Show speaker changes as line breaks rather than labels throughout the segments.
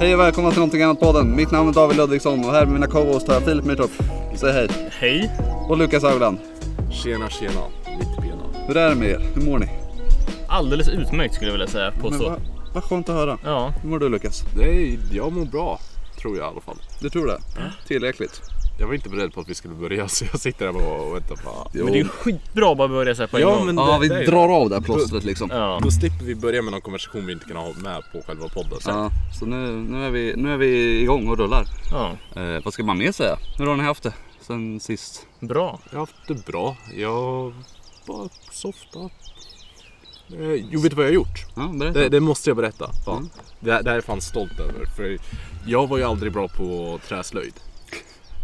Hej och välkomna till Någonting Annat-podden. Mitt namn är David Ludvigsson och här med mina co-hosts har jag Filip Myrtorp. Säg hej.
Hej!
Och Lukas Haugland.
Tjena tjena, mitt bena.
Hur är det med er? Hur mår ni?
Alldeles utmärkt skulle jag vilja säga, påstå.
vad vad skönt att höra.
Ja,
Hur mår du Lukas?
Nej, jag mår bra. Tror jag i alla fall.
Du tror det? Tillräckligt.
Jag var inte beredd på att vi skulle börja så jag sitter här och väntar på...
men det är ju skitbra att bara börja så här på en gång.
Ja, vi
det är-
drar av det här plåstret liksom.
Ja.
Då slipper vi börja med någon konversation vi inte kan ha med på själva podden. sen.
Ja, så nu, nu, är vi, nu är vi igång och rullar.
ja,
Eh, vad ska man mer säga? Hur har ni haft det sen sist?
bra.
Jag har haft det bra. Jag bara softat. Eh, Jo, vet du vad jag har gjort?
Ja, berätta.
Det, det måste jag berätta. Fan.
Mm.
Det, här- det här är jag fan stolt över. För jag var ju aldrig bra på träslöjd.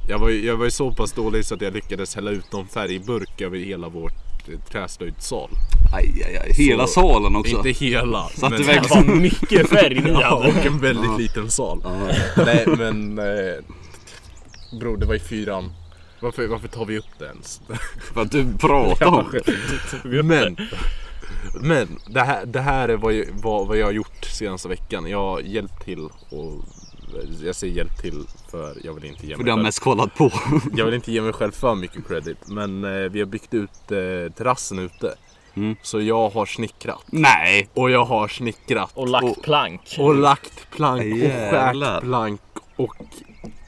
Jag var, ju- jag var ju så pass dålig så att jag lyckades hälla ut någon färgburk över hela vårt eh, träslöjdsal.
Aj, aj, aj. Hela
Så-
salen också.
Inte hela.
Så att det
Det var mycket färg ni
ja,
hade.
och en väldigt liten sal.
Ja,
Nej men... Eh, bror, det var i fyran. Varför, varför tar vi upp det ens?
för att du pratar om det.
Men, men det här, det här är vad jag, vad, vad jag har gjort senaste veckan. Jag har hjälpt till och jag säger hjälpt till för jag vill inte ge
För
mig
det har
själv.
mest kollat på.
Jag vill inte ge mig själv för mycket credit men eh, vi har byggt ut eh, terrassen ute.
Mm.
Så jag har snickrat
Nej!
och jag har snickrat
Och lagt
och,
plank.
och lagt plank och
Jävlar.
skärt plank och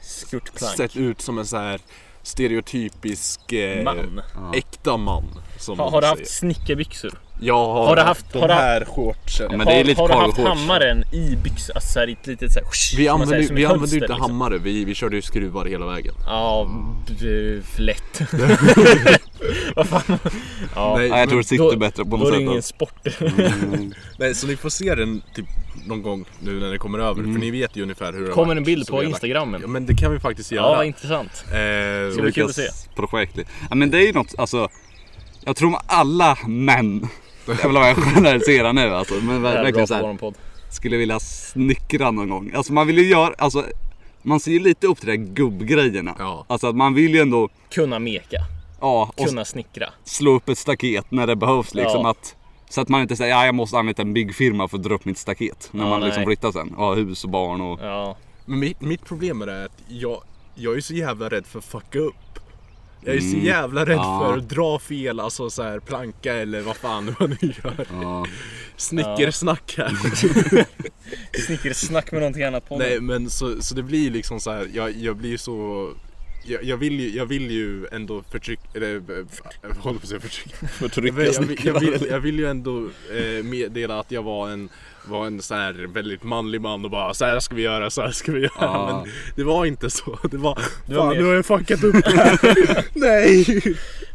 Skurtplank.
sett ut som en så här stereotypisk eh,
Man.
äkta man. Som
Ha,
man
har du
säger.
haft snickarbyxor?
Jag har,
har du haft-
haft de
har du-
här shortsen.
Men det är
Har-
lite
har du haft
cargo shorts.
hammaren i byxan? Alltså så här, i ett litet så här, som
Vi
man
använde,
säger, som
ju- vi
ett
använde
hölster,
ju inte
liksom.
hammare, vi, vi körde ju skruvar hela vägen.
Ja, b- lätt. Vad fan. Ja,
Nej,
Nej, jag tror
men,
det sitter
då-
bättre på
då
något
är det
sätt.
ingen sport.
nej, så ni får se den typ någon gång nu när det kommer över. För ni vet ju ungefär hur det har
Mm. Kommer
varit,
en bild
så
på
vi har lagt-
Instagrammen.
Ja men det kan vi faktiskt göra.
Ja, vad intressant.
Eh,
Ska vi- kul att se.
Lukas projekt. Ja, men det är ju något, alltså. Jag tror alla män. Jag vill vad jag generaliserar nu alltså. Men
Det här är bra
verkligen så
på
här.
våran podd.
Skulle vilja snickra någon gång. Alltså man vill ju göra, alltså. Man ser ju lite upp till de där gubbgrejerna.
Ja.
Alltså att man vill ju ändå,
Kunna meka,
ja, och
kunna snickra.
slå upp ett staket när det behövs liksom.
Ja.
Att, så att man inte säger, ja jag måste anlita en byggfirma för att dra upp mitt staket. När
Ja,
man liksom
nej.
flyttar sen. Och har hus och barn och.
Ja,
Men mitt, mitt problem är att jag, jag är så jävla rädd för att fucka upp. Jag är så jävla rädd
Mm. Ja.
för att dra fel, alltså så här planka eller vad fan vad nu gör.
Ja.
Snickersnack här.
snickersnack med någonting annat på
Nej men så, så det blir liksom så här, jag, jag blir så... Jag, jag, vill ju, jag vill ju ändå förtrycka, eller eh, jag håller på att säga förtrycka. Jag
Förtrycka
vill, jag, vill, jag, vill, jag vill ju ändå eh, meddela att jag var en, var en så här väldigt manlig man och bara så här ska vi göra, så här ska vi göra.
Ja.
Men det var inte så. Det var,
var
fan
mer-
Ah. nu har jag fuckat upp det här. Nej!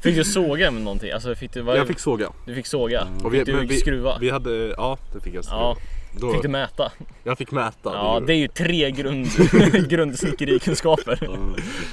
Fick du såga med någonting? Alltså fick du, vad,
Jag fick såga.
du fick såga?
Och
fick du
men vi,
skruva?
Vi hade, ja det fick jag skruva.
ja.
Då,
Fick du mäta?
Jag fick mäta.
Ja,
gjorde
det är ju tre grund, grundsnickerikunskaper.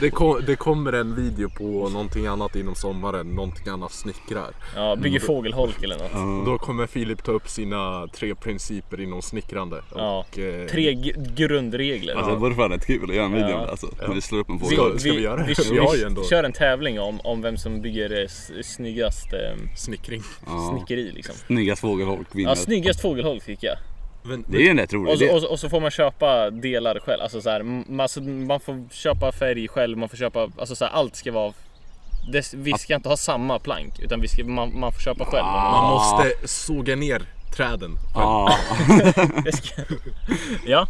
Det, kom, det kommer en video på någonting annat inom sommaren, någonting annat snickrar.
Ja, bygger fågelholk eller något.
Då kommer Filip ta upp sina tre principer inom snickrande.
Ja.
Och, eh,
Tre g- grundregler.
Alltså det vore fan rätt kul att göra en video om
Ja.
det alltså. När vi slår upp en
Vi-
fågel.
Ska- ska vi göra det?
Vi,
Vi har ju ändå-
vi kör en tävling om, om vem som bygger eh, s- snyggast eh,
Snickring.
Ja.
snickeri liksom.
Snyggast fågelholk vinner.
Ja, snyggast fågelholk fick jag.
Men,
det är ju en rätt rolig
Och så,
idé.
och, så, och så får man köpa delar själv. Alltså så här, m- alltså man får köpa färg själv, man får köpa, alltså så här, allt ska vara... Det, vi ska inte ha samma plank, utan vi ska, man, man får köpa själv.
Ah.
man måste såga ner träden.
Ja,
Det ska, ja,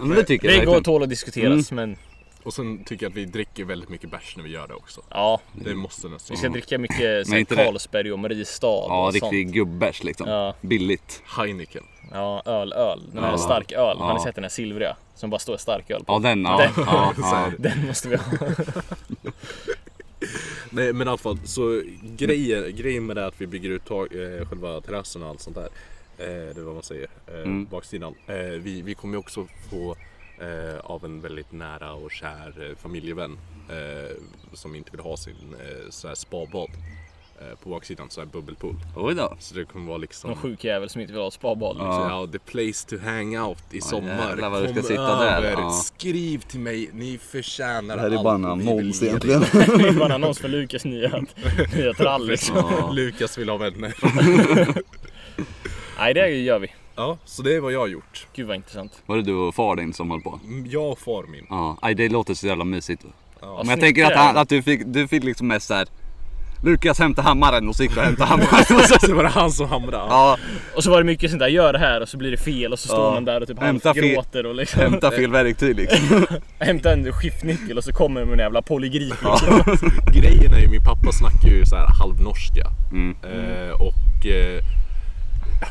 men det tycker jag
det går
verkligen. Mm.
tål att diskuteras, men
Och sen tycker jag att vi dricker väldigt mycket bärs när vi gör det också.
ja,
Det måste nästan
Mm. vi ska dricka mycket så här,
inte det.
Carlsberg och Mariestad
Ja,
och sånt.
riktig gubbärs liksom.
Ja.
Billigt.
Heineken.
Ja, öl, öl. Den här stark öl. Har ni sett den här silvriga? Som bara står stark öl på.
Ja, den. Ja,
Den-
ja,
Så
ja.
här.
Den måste vi ha.
Nej men i alla fall, så grejen, grejen med det är att vi bygger ut tag, eh, själva terrassen och allt sånt där. Eh, det är vad man säger, eh,
Mm.
baksidan. Eh, vi, vi kommer ju också få eh, av en väldigt nära och kär eh, familjevän eh, som inte vill ha sin eh, så här spabad eh, på baksidan, så här bubbelpool.
Oj då.
Så det kommer vara liksom
Någon sjuk jävel som inte vill ha ett spabad.
Så,
Liksom.
ja, the place to hang out i sommar.
jävlar vad du ska
Kom
sitta där,
över,
ja.
skriv till mig, ni förtjänar
Det här är bara en
allt. Vi vill
annons
ge dig.
egentligen.
Det är bara en annons för Lukas nya, nya trall liksom.
Lukas vill ha vänner.
Nej, det gör vi.
Ja, så det är vad jag har gjort.
Gud vad intressant.
Var det du och far din som höll på?
Mm, Jag och far min.
Ja, aj, det låter så jävla mysigt.
Ja,
Men jag tänker att,
snickare.
han, att du, fick, du fick liksom mest såhär Lukas hämta hammaren och så gick du och hämtade hammaren. Och så-
Det var det han som hamrade.
ja,
Och så var det mycket sånt där, gör det här och så blir det fel och så står
Ja.
man där och typ
Hämta
halvgråter och liksom
hämta fel verktyg liksom.
hämta en skiftnyckel och så kommer med en jävla polygrip. liksom.
Ja.
Grejen är ju, min pappa snackar ju så här halvnorska.
Mm.
Eh, och eh,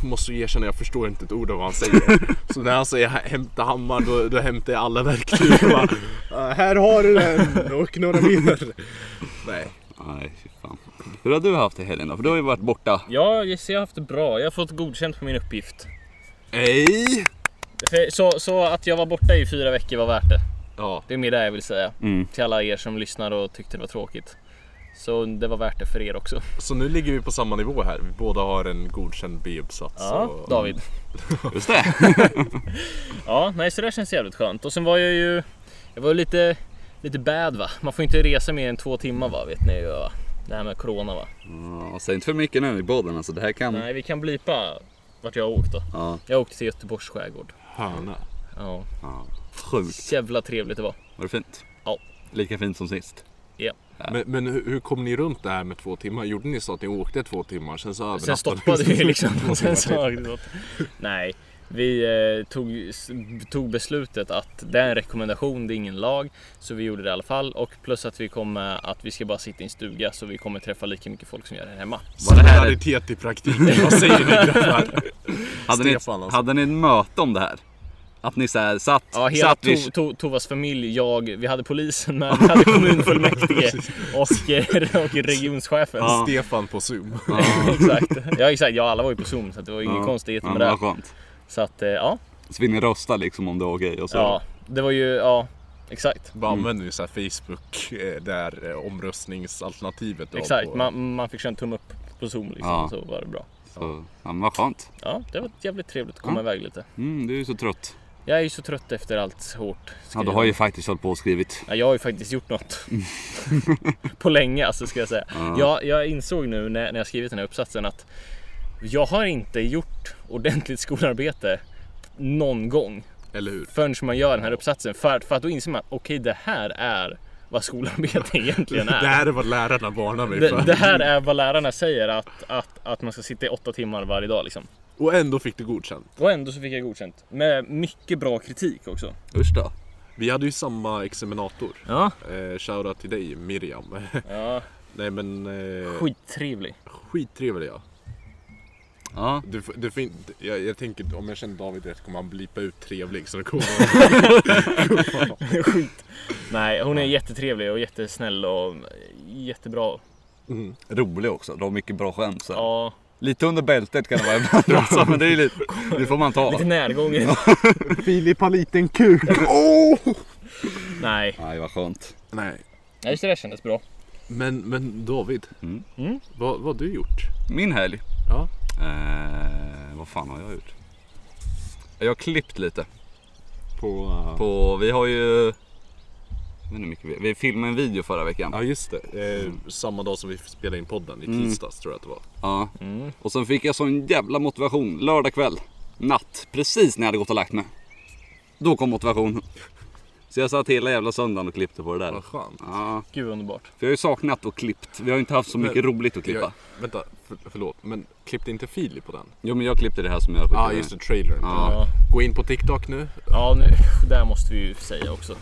jag måste ju erkänna, jag förstår inte ett ord av vad han säger. så när han säger hämta hammaren, då, då hämtar jag alla verktyg och bara, "Ah, Här har du den och några mer. Nej.
Nej, fy fan. Hur har du haft det i helgen då? För du har ju varit borta.
Ja, jag ser jag har haft det bra. Jag har fått godkänt på min uppgift.
Ej.
För- Så, så att jag var borta i fyra veckor var värt det.
Ja,
Det är mer det jag vill säga.
Mm.
Till alla er som lyssnar och tyckte det var tråkigt. Så det var värt det för er också.
så nu ligger vi på samma nivå här. Vi båda har en godkänd B-uppsats.
Ja,
och-
David.
Just det.
Ja, nej så det känns jävligt skönt. Och sen var jag ju, jag var lite, lite bad va. Man får inte resa mer än två timmar va, vet ni ju va. Det här med corona va.
Ja, säg inte för mycket nu i podden alltså. Det här kan...
Nej, vi kan blipa vart jag har åkt då.
Ja,
Jag åkte till Göteborgs skärgård.
Hörna.
Ja,
ja. Sjukt.
jävla trevligt det var.
Var det fint?
Ja.
Lika fint som sist.
Ja.
Men, men hur, hur kom ni runt det här med två timmar? Gjorde ni så att ni åkte två timmar, sen så övernattade
Sen
alltså,
stoppade vi liksom.
Två
Sen
timmar till?
så Nej, vi eh, tog, s- tog beslutet att det är en rekommendation, det är ingen lag. Så vi gjorde det i alla fall. Och plus att vi kommer att vi ska bara sitta i en stuga så vi kommer träffa lika mycket folk som gör det här hemma.
Var det här i praktiken, vad säger ni grabbar?
Hade, ni,
Stefan, alltså.
hade ni ett möte om det här? Att ni så här satt,
Ja, hela
satt
to,
vid...
to, Tovas familj, jag, vi hade polisen med, vi hade kommunfullmäktige och, eh, och regionschefen.
Ja.
Stefan på zoom.
Mm. exakt. Ja, exakt. Ja, alla var ju på zoom så att det var ju inga
Ja,
konstigheter
ja,
med
men
det.
vad skönt.
Så att, eh, ja,
Så vill ni rösta liksom om det var okej? och så.
ja, det var ju, ja, exakt.
Bara använder ju så här Facebook, eh, där eh, omröstningsalternativet. var
Exakt,
på.
man, man fick köra en tumme upp på zoom liksom,
Ja.
så var det bra.
Så, ja, men vad skönt.
Ja, det var jävligt trevligt att komma iväg lite.
Mm, du är ju så trött.
Jag är ju så trött efter allt hårt
Ja, du
skrivande.
har ju faktiskt hållit på och skrivit.
Ja, jag har ju faktiskt gjort något. på länge alltså ska jag säga. Jag, jag insåg nu när, när jag skrivit den här uppsatsen att jag har inte gjort ordentligt skolarbete någon gång
Eller hur?
förrän man gör den här uppsatsen. För, att- för att då inser man, okej det här är vad skolarbete egentligen
Det
är.
här är vad lärarna varnar mig
Det,
för.
det här är vad lärarna säger att, att, att man ska sitta i åtta timmar varje dag liksom.
Och ändå fick du godkänt.
Och ändå så fick jag godkänt. Med mycket bra kritik också.
Usch då.
Vi hade ju samma examinator.
Ja.
Eh, Shoutout till dig Miriam.
ja.
Nej men eh,
Skittrevlig.
skittrevlig ja.
Ja.
Du, får- du får inte, jag, jag tänker om jag känner David rätt kommer han blipa ut trevlig så det kommer
Skit. Nej, hon är jättetrevlig och jättesnäll och jättebra.
Rolig också. Du har mycket bra skämt. så här.
Ja,
Lite under bältet kan det vara ibland alltså, men det är lite... Det får man ta.
lite närgången.
Filip har liten kuk. Åh!
Nej,
Nej, vad skönt.
Nej.
Nej, just det där kändes bra.
Men, men David.
Mm.
Mm.
Vad, vad har du gjort?
Min helg.
Ja.
Eh, vad fan har jag gjort? Jag har klippt lite.
På... eh,
På, vi har ju... Jag vet inte hur mycket vi, vi filmade en video förra veckan.
Ja just det. Eh, Samma dag som vi spelade in podden. I tisdags tror jag att det var.
Ja. Och sen fick jag sån jävla motivation lördag kväll. Natt. Precis när jag hade gått och lagt mig. Då kom motivationen. Så jag satt hela jävla söndagen och klippte på det där.
Vad skönt.
Ja,
Gud vad underbart.
för jag har ju saknat och klippt. Vi har ju inte haft så mycket roligt att klippa.
Jag, vänta, för, förlåt. Men klippte inte Filip på den?
Jo men jag klippte det här som jag skickade.
Ja ah, just det, trailern.
Ja.
Gå in på TikTok nu.
Ja, nu, där måste vi ju säga också.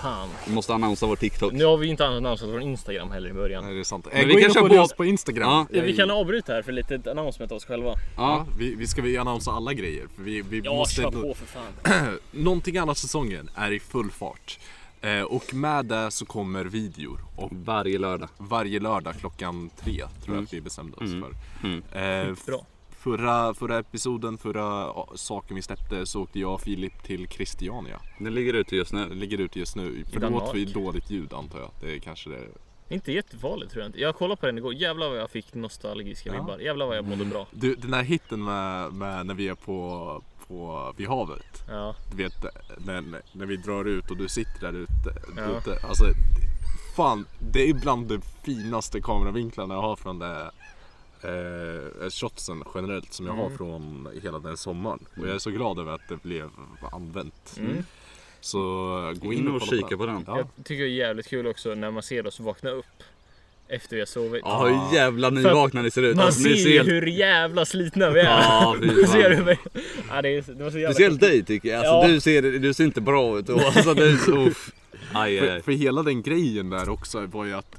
Fan.
Vi måste annonsa vår TikTok.
Nu har vi ju inte annonsat från Instagram heller i början.
Nej, det är sant.
vi
Eh, gå in
kan
och
köra
följ
båda-
oss på Instagram.
Ja.
Jag-
Vi kan avbryta här för lite announcement av oss själva.
Ja.
Ja, vi, vi ska vi annonsa alla grejer. För vi, vi
Ja,
måste
kör
nå-
på för fan.
Någonting annat säsongen är i full fart. Eh, och med det så kommer videor. Och
Varje lördag.
varje lördag klockan tre tror jag att vi bestämde oss för. Eh, f-
Bra.
Förra, förra episoden, förra ja, saken vi släppte så åkte jag och Filip till Christiania.
Den ligger ute just
Det
nu.
ligger ute just nu.
Danmark.
Förlåt för dåligt ljud antar jag. Det är kanske det.
Inte jättefarligt tror jag inte. Jag kollade på den igår. Jävlar vad jag fick nostalgiska vibbar. Jävlar vad jag mådde bra.
Du, den här hitten med, med när vi är på, på vid havet.
Ja.
Du vet när, när vi drar ut och du sitter där ute.
Ja.
ute alltså, det- fan, det är bland de finaste kameravinklarna jag har från det, eh, eh, shotsen generellt som jag har
Mm.
från hela den sommaren. Och jag är så glad över att det blev använt. Så gå in,
In och
kolla
kika på den.
Ja.
Mm. Jag tycker det är jävligt kul också när man ser oss vakna upp efter vi har sovit.
Ja, hur jävla nyvakna ni ser ut.
Man
Alltså,
ser
ni
ju
ser helt...
hur jävla slitna vi är.
Ja, fy
Du ser
fan.
hur vi... Ja, det, är, det var så jävla...
Speciellt dig tycker jag. Alltså,
Ja.
du, ser, du ser inte bra ut. Och, alltså, du, uff. Aj, aj,
För,
aj.
för hela den grejen där också var ju att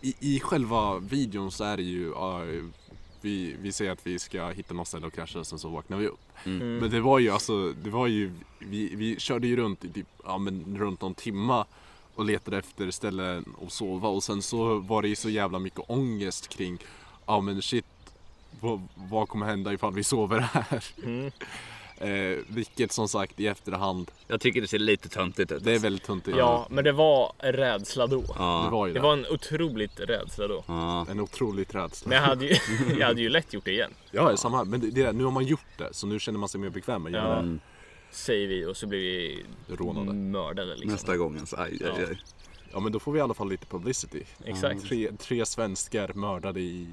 i, i själva videon så är det ju ja, vi, vi säger att vi ska hitta något ställe och krascha och sen så vaknar vi upp.
Mm.
Men det var ju alltså, det var ju, vi, vi körde ju runt i typ, ja men runt någon timma och letade efter ställen att sova och sen så var det ju så jävla mycket ångest kring, ja men shit, vad, vad kommer hända ifall vi sover här?
Mm.
Eh, vilket som sagt i efterhand,
Jag tycker det ser lite töntigt ut.
det är väldigt tuntigt.
Ja, men det var en rädsla då.
Det
Ja.
var ju
Det
det.
var en otroligt rädsla då.
Ja.
En otroligt rädsla.
Men jag hade ju, jag hade ju lätt gjort det igen.
Ja, ja, samma här. Men det, det, är- nu har man gjort det, så nu känner man sig mer bekväm med att göra
Ja. Säger vi och så blir vi
det rånade.
mördade liksom.
Nästa gång alltså. Aj, aj, aj.
Ja, men då får vi i alla fall lite publicity.
Exakt.
Tre, tre svenskar mördade i...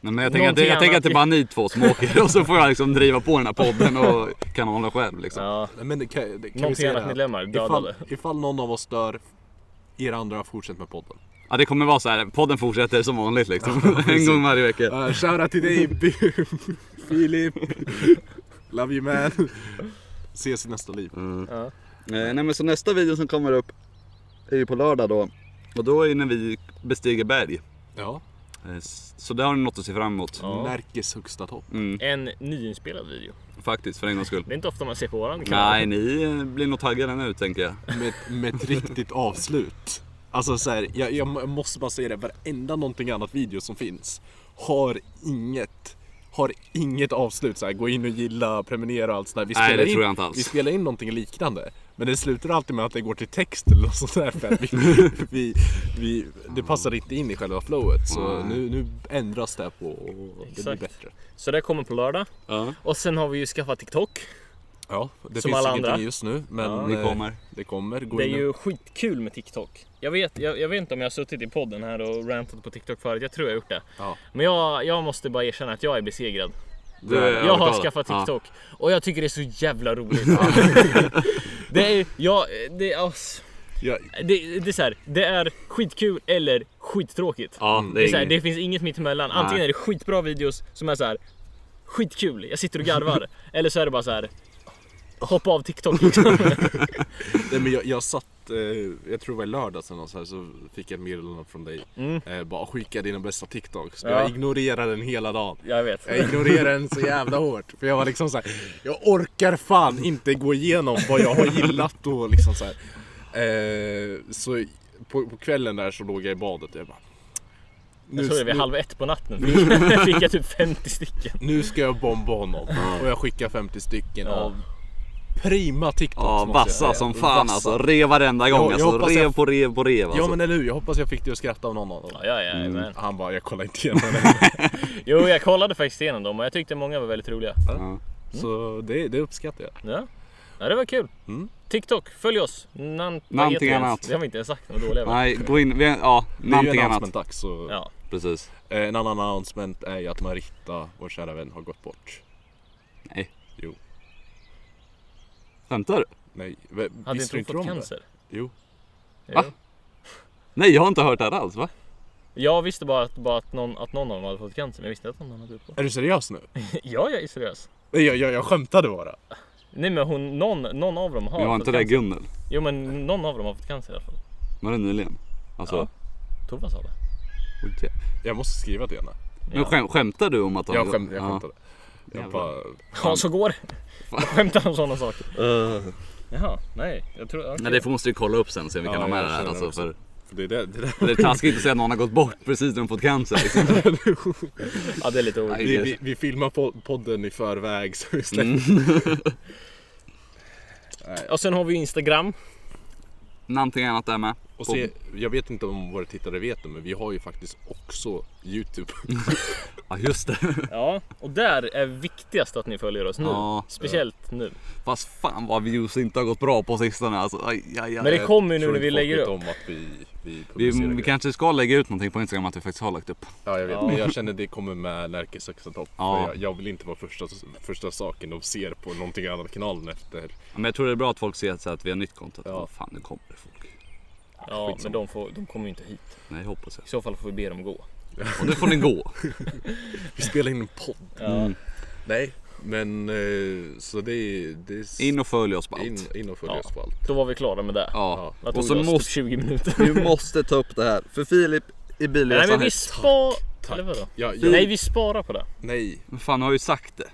Nej, men jag tänker, att det, jag
Någonting
tänker att det är bara
annat
ni två som åker och så får jag liksom driva på den här podden och kanalen själv liksom.
Ja.
Nej, Men det kan, det, kan vi
Någonting
säga
annat
det
ni
här?
glömmer,
ifall,
dödade.
ifall någon av oss dör, er andra fortsätt med podden.
Ja, det kommer vara så här. podden fortsätter som vanligt liksom. en gång varje vecka.
Uh, shoutout till dig, Bi- Filip! Love you man! Ses i nästa liv.
Ja.
Eh, Nej men så nästa video som kommer upp är ju på lördag då. Och då är ju när vi bestiger berg.
Ja,
Eh, s- Så där har ni något att se fram emot.
Ja.
Närkes högsta topp.
Mm,
En nyinspelad video.
faktiskt, för en gångs skull.
Det är inte ofta man ser på våran kanal.
Nej, ni eh, blir nog taggade nu tänker jag.
med, med ett riktigt avslut. Alltså så här, jag, jag må- måste bara säga det, varenda någonting annat video som finns har inget har inget avslut så här, gå in och gilla, prenumerera och allt sånt där. Vi
Nej,
spelar
det
in,
tror jag inte alls.
Vi spelar in någonting liknande. Men det slutar alltid med att det går till text eller något sånt där. För att vi, vi, vi, det passar inte in i själva flowet. Så nu, nu ändras det på och det blir
Exakt.
bättre.
Så det kommer på lördag.
Ja.
Och sen har vi ju skaffat TikTok.
Ja, det
Som
finns
alla
ingenting
andra.
just nu. Men
Ja, det
eh,
kommer.
Det kommer. Gå
Det är
in och-
ju skitkul med TikTok. Jag vet, jag, jag vet inte om jag har suttit i podden här och rantat på TikTok förut. Jag tror jag har gjort det.
ja.
Men jag, jag måste bara erkänna att jag är besegrad.
Du är
Jag har
övertalad.
skaffat
Ja.
TikTok och jag tycker det är så jävla roligt. det är, ja, det, är- ass.
Jag,
det, det är så här, det är skitkul eller skittråkigt.
Ja,
Det,
det
är så
är
här, det
inget.
finns inget mittemellan. Antingen
Nej.
är det skitbra videos som är så här skitkul, jag sitter och garvar. eller så är det bara så här hoppa av TikTok liksom.
Nej, men jag, jag satt, eh, jag tror det var i lördags eller något så, här, så fick jag ett meddelande från dig. Eh, bara skicka dina bästa TikToks.
Mm. Ja.
Jag ignorerade den hela dagen.
Jag vet.
Jag ignorerade den så jävla hårt. För jag var liksom så här, jag orkar fan inte gå igenom vad jag har gillat och liksom så här. Eh, så på, på kvällen där så låg jag i badet jag bara.
Jag
Nu,
tror det var
nu,
halv ett på natten. fick jag typ 50 stycken.
nu ska jag bomba honom. Och jag skickar 50 stycken
Ja.
av prima TikToks.
Ja,
måste jag
vassa
säga.
som fan
Vassa.
alltså. Rev varenda gång
Ja, jag
alltså.
hoppas
Rev
jag-
på rev på rev alltså.
Ja men eller hur, jag hoppas jag fick dig att skratta av någon av dem.
Ja, ja, ja, men.
Han bara, jag kollar inte igenom
Mm.
det.
Jo, jag kollade faktiskt igenom dem och jag tyckte många var väldigt roliga.
Ja.
Så det, det uppskattar jag.
Ja, ja det var kul. TikTok, följ oss. Nan- vad
Någonting
heter vi ens?
annat.
Det har vi inte ens sagt, vad dåliga vi är.
Nej, gå in. vi- Ja,
Det är ju
någonting
en
annat.
announcement-dags. Så...
Ja,
Precis.
Eh, En annan announcement är ju att Marita, vår kära vän, har gått bort.
Nej.
Jo.
Skämtar du?
Nej, v-
hade
visste
inte hon
du
fått
om
cancer?
Det? Jo.
Jo.
Va? Nej, jag har inte hört det här alls va?
Jag visste bara att, bara att, någon, att någon av dem hade fått cancer, men jag visste inte att någon hade fått
Är du seriös nu?
Ja, jag är seriös.
Nej, jag, jag, jag skämtade bara.
Nej men hon, någon, någon av dem har
Men var
fått
inte det
cancer.
Gunnel?
Jo men någon av dem har fått cancer i alla fall.
Var det nyligen? Alltså,
Ja. Tova sa det.
okej.
Jag måste skriva till henne.
Men skäm, skämtar du om att
Jag, skäm, jag
Ja.
skämtade. Jag bara,
Ja, så går det. Man skämtar om sådana saker. Jaha, nej. Jag tror... okej.
Nej, det får- måste vi kolla upp sen se om vi kan
Ja,
ha med
jag
det här
känner
alltså,
också.
för
för det, det, det, där-
det är taskigt att säga att någon har gått bort precis när de fått cancer liksom.
Ja, det är lite ovisst.
Nej,
vi, vi, vi filmar po- podden i förväg så vi släpper.
Mm.
Och sen har vi Instagram.
Någonting annat där med.
Och se, jag vet inte om våra tittare vet det, men vi har ju faktiskt också YouTube.
Ja, just det.
Ja, och där är viktigast att ni följer oss nu.
Ja.
Speciellt nu.
Fast fan vad views inte har gått bra på sistone alltså. Aj, aj, aj.
Men det kommer ju nu
Tror
när
inte
vi
folk
lägger
vet
upp.
om att vi, vi
vi,
publicerar
vi
grejer.
kanske ska lägga ut någonting på Instagram att vi faktiskt har lagt upp.
Ja, jag vet.
Ja.
Men jag känner det kommer med Närke Saxa Topp.
Ja.
För Jag, jag vill inte vara första, första saken de ser på någonting annat kanalen efter.
Men jag tror det är bra att folk ser att, så att vi har nytt content.
Ja.
Ja. Fan, nu kommer det folk.
Ja, men de, får, de kommer ju inte hit.
Nej, jag hoppas jag.
I så fall får vi be dem gå.
Och nu får ni gå.
Vi spelar in en podd.
Ja.
Mm.
Nej, men eh, så det är... Det är
In och följ oss på allt.
in, in och följ
Ja.
oss på allt.
Då var vi klara med det.
Ja.
Vad tog
Och så
det oss? Typ
måste
20 minuter.
vi måste ta upp det här. För Filip i
Nej
bilresan
men vi
hit-
spar...
tack.
Eller vadå?
Ja, jag,
Nej vi sparar på det.
nej.
Men fan, jag har ju sagt det.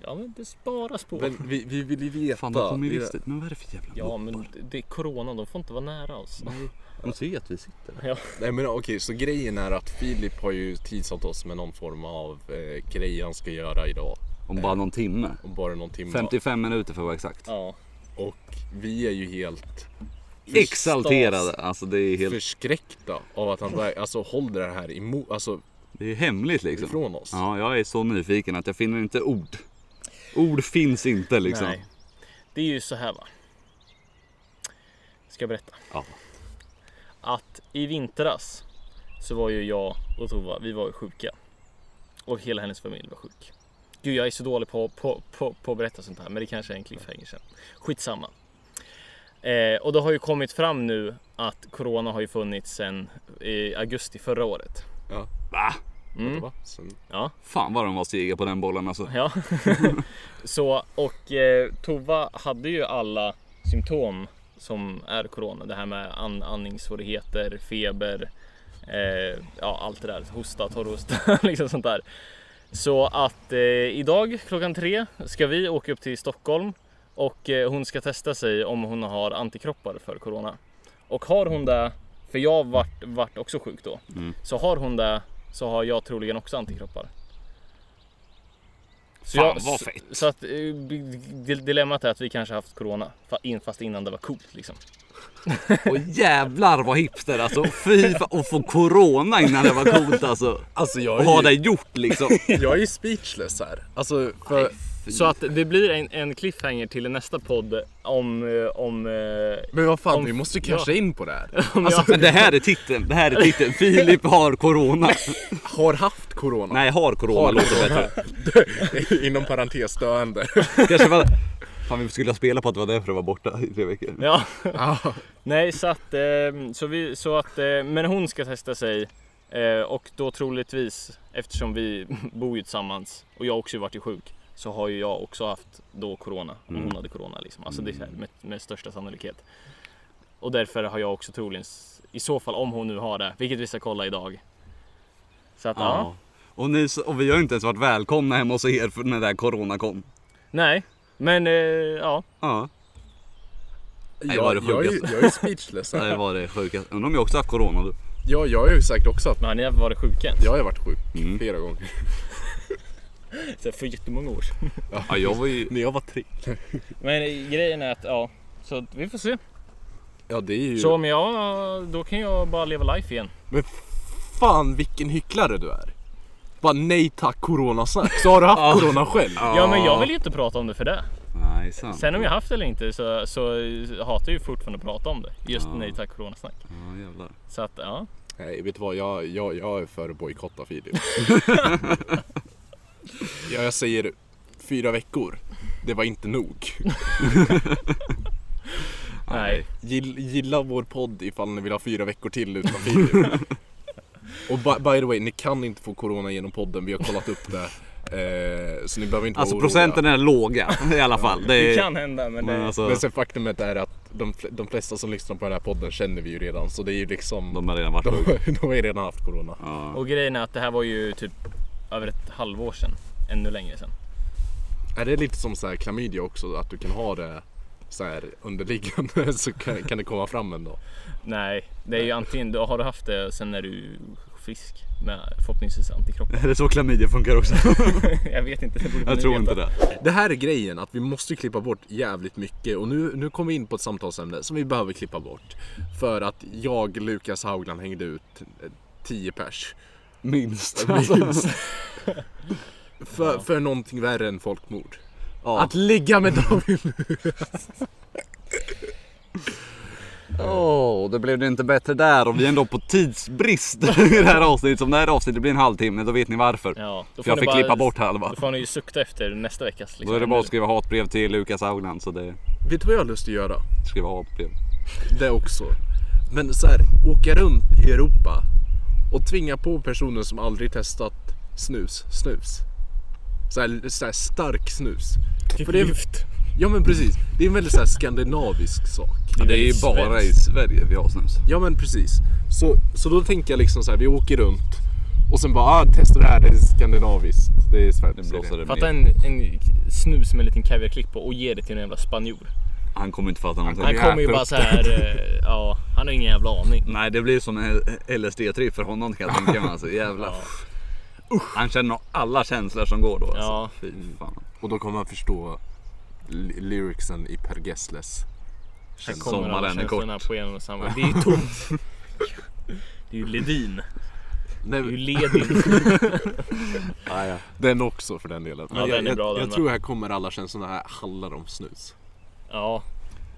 Ja men det sparas på.
Men vi, vi vill ju veta.
Fan, de kommer ju
Det är-
visst hit. Men vad är det för jävla
Ja
ja.
men det- det är corona, de får inte vara nära oss.
Mm. De ser ju att vi sitter där.
Nej men okej, så grejen är att Filip har ju tidsatt oss med någon form av eh, grej han ska göra idag.
Om bara någon timme.
Om bara någon timme.
55 minuter för att vara exakt.
Ja.
Och vi är ju helt
Exalterade. Alltså det är helt...
förskräckta av att han bara, alltså håller det här emot, alltså
Det är hemligt liksom.
ifrån oss.
Ja, jag är så nyfiken att jag finner inte ord. Ord finns inte liksom.
Nej. Det är ju så här va. Ska jag berätta?
Ja.
Att i vintras så var ju jag och Tova, vi var ju sjuka. Och hela hennes familj var sjuk. Gud jag är så dålig på, på, på, på att berätta sånt här men det kanske är en cliffhanger sen. Skitsamma. Eh, och det har ju kommit fram nu att Corona har ju funnits sedan eh, augusti förra året.
Ja.
Va?
Mm. Va? Sen,
Ja.
Fan vad de var sega på den bollen alltså.
Ja. så, och eh, Tova hade ju alla symptom som är corona. Det här med an- andningssvårigheter, feber, eh, ja allt det där. Hosta, torrhosta, liksom sånt där. Så att eh, idag klockan tre ska vi åka upp till Stockholm och eh, hon ska testa sig om hon har antikroppar för corona. Och har hon det, för jag vart, vart också sjuk då,
Mm.
så har hon det så har jag troligen också antikroppar. Så
Fan, vad fett.
Så, så att eh, di- dilemmat är att vi kanske haft corona fa- in- fast innan det var coolt liksom.
Och jävlar vad hipster alltså. Fy fan. Och få corona innan det var coolt alltså.
alltså jag
Och ha
är,
det
ju,
gjort liksom.
jag är speechless här. Alltså för,
Så att det blir en, en cliffhanger till nästa podd om, eh, om eh,
men vad fan
Om-
vi måste casha in på det här.
Alltså, Men det här är titeln. Det här är titeln. Filip har corona.
Har haft corona.
Nej, har corona
Har
låter bättre.
Inom parentes döende.
Kanske var... Fan vi skulle ha spelat på att det var därför det var borta i tre veckor.
Ja.
Ja.
Nej, så att, eh, så vi, så att eh, men hon ska testa sig eh, och då troligtvis eftersom vi bor ju tillsammans och jag också varit sjuk så har ju jag också haft då corona och hon hade corona liksom. Alltså det är så här med, med största sannolikhet. Och därför har jag också troligen s- i så fall om hon nu har det, vilket vi ska kolla idag. Så att ja.
Ja. Och, ni, och vi har inte ens varit välkomna hemma hos er för när det här corona kom.
Nej, men eh, ja.
Ja. det var
Jag,
det
jag, är, ju-
sjukaste.
jag är speechless här.
Det var det sjukaste. Undrar om jag också haft corona du.
Ja, jag har ju sagt också att
Men har ni varit sjuka ens?
jag har varit sjuk flera gånger.
Så här För jättemånga år sedan.
Ja, jag var ju...
När jag var tre.
Men eh, grejen är att ja, så att vi får se.
Ja, det är ju...
Så om jag, då kan jag bara leva life igen.
Men fan vilken hycklare du är. Bara nej tack coronasnack. Så har du haft corona själv.
Ja men jag vill ju inte prata om det för det.
Nej, sant.
Sen om jag haft det eller inte så, så hatar jag ju fortfarande att prata om det. Just nej tack coronasnack.
Ja, jävlar.
Så att ja.
Nej, vet du vad? Jag, jag, jag är för att bojkotta Filip. ja, jag säger fyra veckor. Det var inte nog.
Nej.
Gill, gilla vår podd ifall ni vill ha fyra veckor till utan Filip. Och by, by the way, ni kan inte få corona genom podden. Vi har kollat upp det. Eh, så ni behöver inte
Alltså
vara
procenten är låga i alla fall. Det,
Det
är...
kan hända men,
Men
det,
alltså,
Men sen faktumet är att de, fl- de flesta som lyssnar på den här podden känner vi ju redan. Så det är ju liksom...
de har redan varit sjuka.
De, de har ju redan haft corona.
Ja.
Och grejen är att det här var ju typ över ett halvår sedan. Ännu längre sedan.
Är det lite som så här klamydia också? Att du kan ha det så här underliggande så kan, kan det komma fram ändå.
Nej, det är ju antingen, då har du haft det sen är du fisk med förhoppningsvis antikroppar.
Är det så klamydia funkar också?
jag vet inte, det borde
Jag
ni
tror
veta.
inte det.
Det här är grejen, att vi måste klippa bort jävligt mycket och nu, nu kommer vi in på ett samtalsämne som vi behöver klippa bort. För att jag, Lukas Haugland, hängde ut eh, 10 pers.
Minst.
Minst. för, för någonting värre än folkmord.
Ja.
Att ligga med David
Åh, det blev det inte bättre där och vi är ändå på tidsbrist i det här avsnittet. Som det här avsnittet blir en halvtimme, då vet ni varför.
Ja, då
För jag
ni
fick
bara-
klippa bort halva.
Då får ni ju sukta efter nästa veckas. liksom.
Då är det bara att skriva hatbrev till Lukas Haugland, så det
Vet du vad jag har lust att göra?
skriva hatbrev.
Det också. Men så här, åka runt i Europa och tvinga på personer som aldrig testat snus, snus. Så här, så här stark snus. För det är, ja men precis, det är en väldigt så här skandinavisk sak.
Det är ju bara i Sverige vi har snus.
Ja men precis. Så, så då tänker jag liksom så här, vi åker runt och sen bara ah, testa det här, det är skandinaviskt. Det är svenskt.
Det blåser det
Fatta
ner.
en, en snus med en liten kaviarklick på och ge det till en jävla spanjor.
Han kommer inte fatta någonting.
Han
Vi
kommer ju
äter
bara
upp
så här, eh, ja, han har ingen jävla aning.
Nej, det blir som en LSD-trip för honom kan jag tänka mig. Alltså, jävlar. Han känner nog alla känslor som går då. Alltså.
Ja.
Fy fan.
Och då kommer man förstå li- lyricsen i Per Gessles.
Här
Känns-
kommer alla
sommaren är kort.
känslorna på en och samma. Det är ju tomt. Det är ju Ledin.
Nej,
Det är ju Ledin.
ah, ja. Den också för den delen.
Ja,
jag
den är bra,
jag,
den
jag
va?
tror här kommer alla känslorna här handlar om snus.
Ja,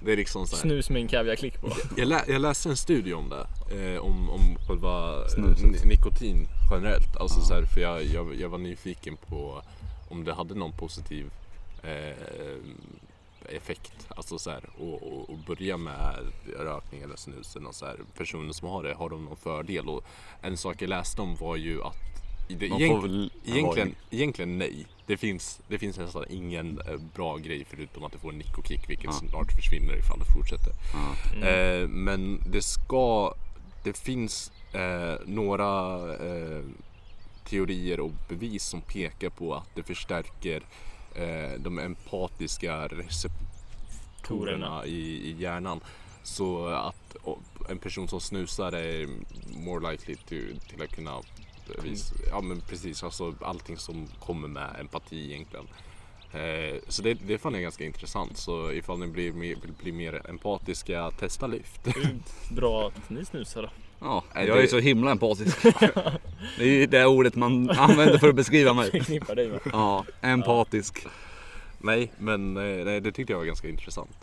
Det är liksom så här.
snus med en kaviarklick på.
Jag, lä, jag läste en studie om det. Eh, om, om själva eh,
Snuset.
ni- nikotin generellt. Alltså så här, för jag, jag, jag var nyfiken på om det hade någon positiv eh, effekt. Alltså så här, och, och, och börja med rökning eller snus. Eller något så här. Personer som har det, har de någon fördel? Och en sak jag läste om var ju att i det,
Man
egent-
får väl
Egentligen, egentligen nej. Det finns, det finns nästan ingen eh, bra grej förutom att du får en nikokick vilket snart försvinner ifall det fortsätter.
Mm,
Eh, men det ska, det finns eh, några eh, teorier och bevis som pekar på att det förstärker eh, de empatiska receptorerna i, i hjärnan. Så att o- en person som snusar är more likely to, till att kunna vis-
Mm.
Ja men precis, alltså allting som kommer med empati egentligen. Eh, Så det, det fann jag ganska intressant. Så ifall ni blir mer, vill bli mer empatiska, testa lyft.
Mm.
Bra att ni snusar då.
Ja,
Nej,
jag är
det-
så himla empatisk. det är ju det ordet man använder för att beskriva mig.
Förknippar dig med.
Ja, empatisk.
Nej, men eh, nej, det tyckte jag var ganska intressant.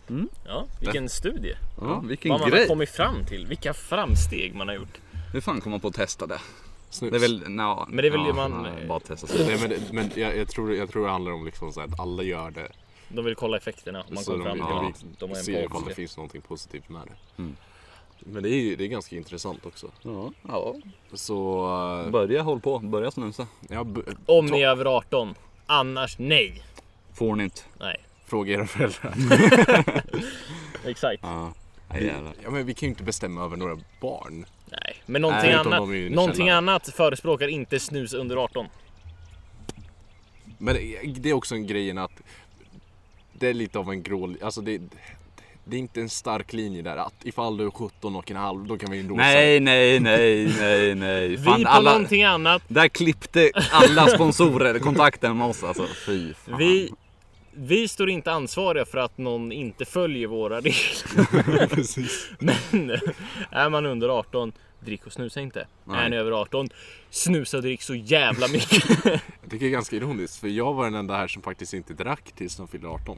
Ja, vilken studie.
Ja, vilken
Vad man har
grej.
kommit fram till. Vilka framsteg man har gjort.
Hur fan kom man på att testa det?
Snus.
Det är väl, no,
Men det är väl
ja,
det man-
nej, Bara testa
Nej, men det- men jag, jag, tror, jag tror det handlar om liksom så här att alla gör det.
De vill kolla effekterna. Man
så
kom
de,
fram till
ja,
att de är
ser ifall det
empatiska.
finns någonting positivt med det. Men det är, ju- det är ganska intressant också.
Mm. Ja, ja.
Så... eh,
Börja håll på, börja snusa.
Ja, b-
Om ni är över 18. Annars nej.
Får ni inte.
Nej,
fråga era föräldrar.
exakt.
Ja, nej, jävlar.
Ja, men vi kan ju inte bestämma över några barn.
Nej, men någonting,
Nej, utan
annat,
de är ju i
någonting
källaren.
annat förespråkar inte snus under 18.
Men det är också en grejen att det är lite av en grå... Alltså det, det är inte en stark linje där att ifall du är 17 och en halv då kan vi ändå
nej, nej, nej, nej, nej.
Vi på någonting annat.
Där klippte alla sponsorer kontakten med oss alltså. Fy fan.
Vi, vi står inte ansvariga för att någon inte följer våra regler.
säga. Precis.
Men är man under 18, drick och snusa inte.
Nej.
Är ni över 18, snusa och drick så jävla mycket.
Jag tycker det är ganska ironiskt för jag var den enda här som faktiskt inte drack tills de fyllde 18.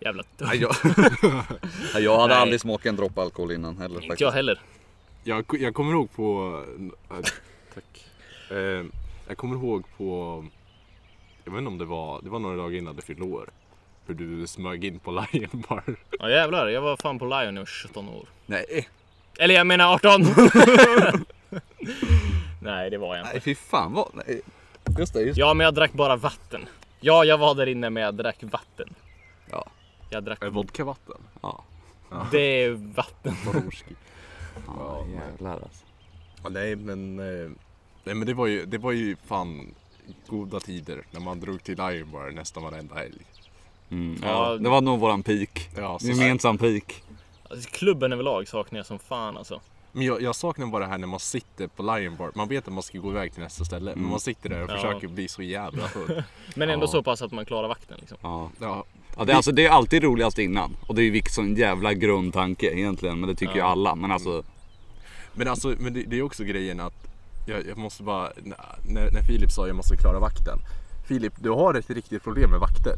jävla
Nej, jag, Nej, jag hade
Nej.
aldrig smakat en droppe alkohol innan heller
Inte jag
faktiskt.
heller.
Jag, jag kommer ihåg på... eh, Tack. Eh, jag kommer ihåg på... Jag vet inte om det var... Det var några dagar innan du fyllde år. Hur du smög in på Lion Bar.
Ja jävlar, jag var fan på Lion när jag var 17 år.
Nej, eh,
Eller jag menar 18! Nej det var jag inte.
nej fy fan vad. Nej. Just det, just det.
Ja men jag drack bara vatten. Ja jag var där inne men jag drack vatten.
Ja.
Jag drack
Eh, Vodkavatten.
Ja.
Det är vatten.
Borowski.
Ja, jävlar alltså.
Ja, Nej men, eh, nej, men det, var ju, det var ju fan goda tider när man drog till Lion Bar nästan varenda helg.
Mm,
Ja.
ja, det var nog våran peak.
Ja, så-
Gemensam peak.
Alltså, klubben överlag saknar jag som fan alltså.
Men jag, jag saknar bara det här när man sitter på Lion Bar. Man vet att man ska gå iväg till nästa ställe. Men man sitter där och
Ja.
försöker bli så jävla full.
Men ändå
Ja.
så pass att man klarar vakten liksom.
Ja.
Ja.
Ja, det, är alltså, det är alltid roligast innan. Och det är ju vilken sån jävla grundtanke egentligen. Men det tycker ju alla. Men
Mm.
alltså,
Men alltså, men det, det är också grejen att jag, jag måste bara, när, när Filip sa jag måste klara vakten. Filip, du har ett riktigt problem med vakter.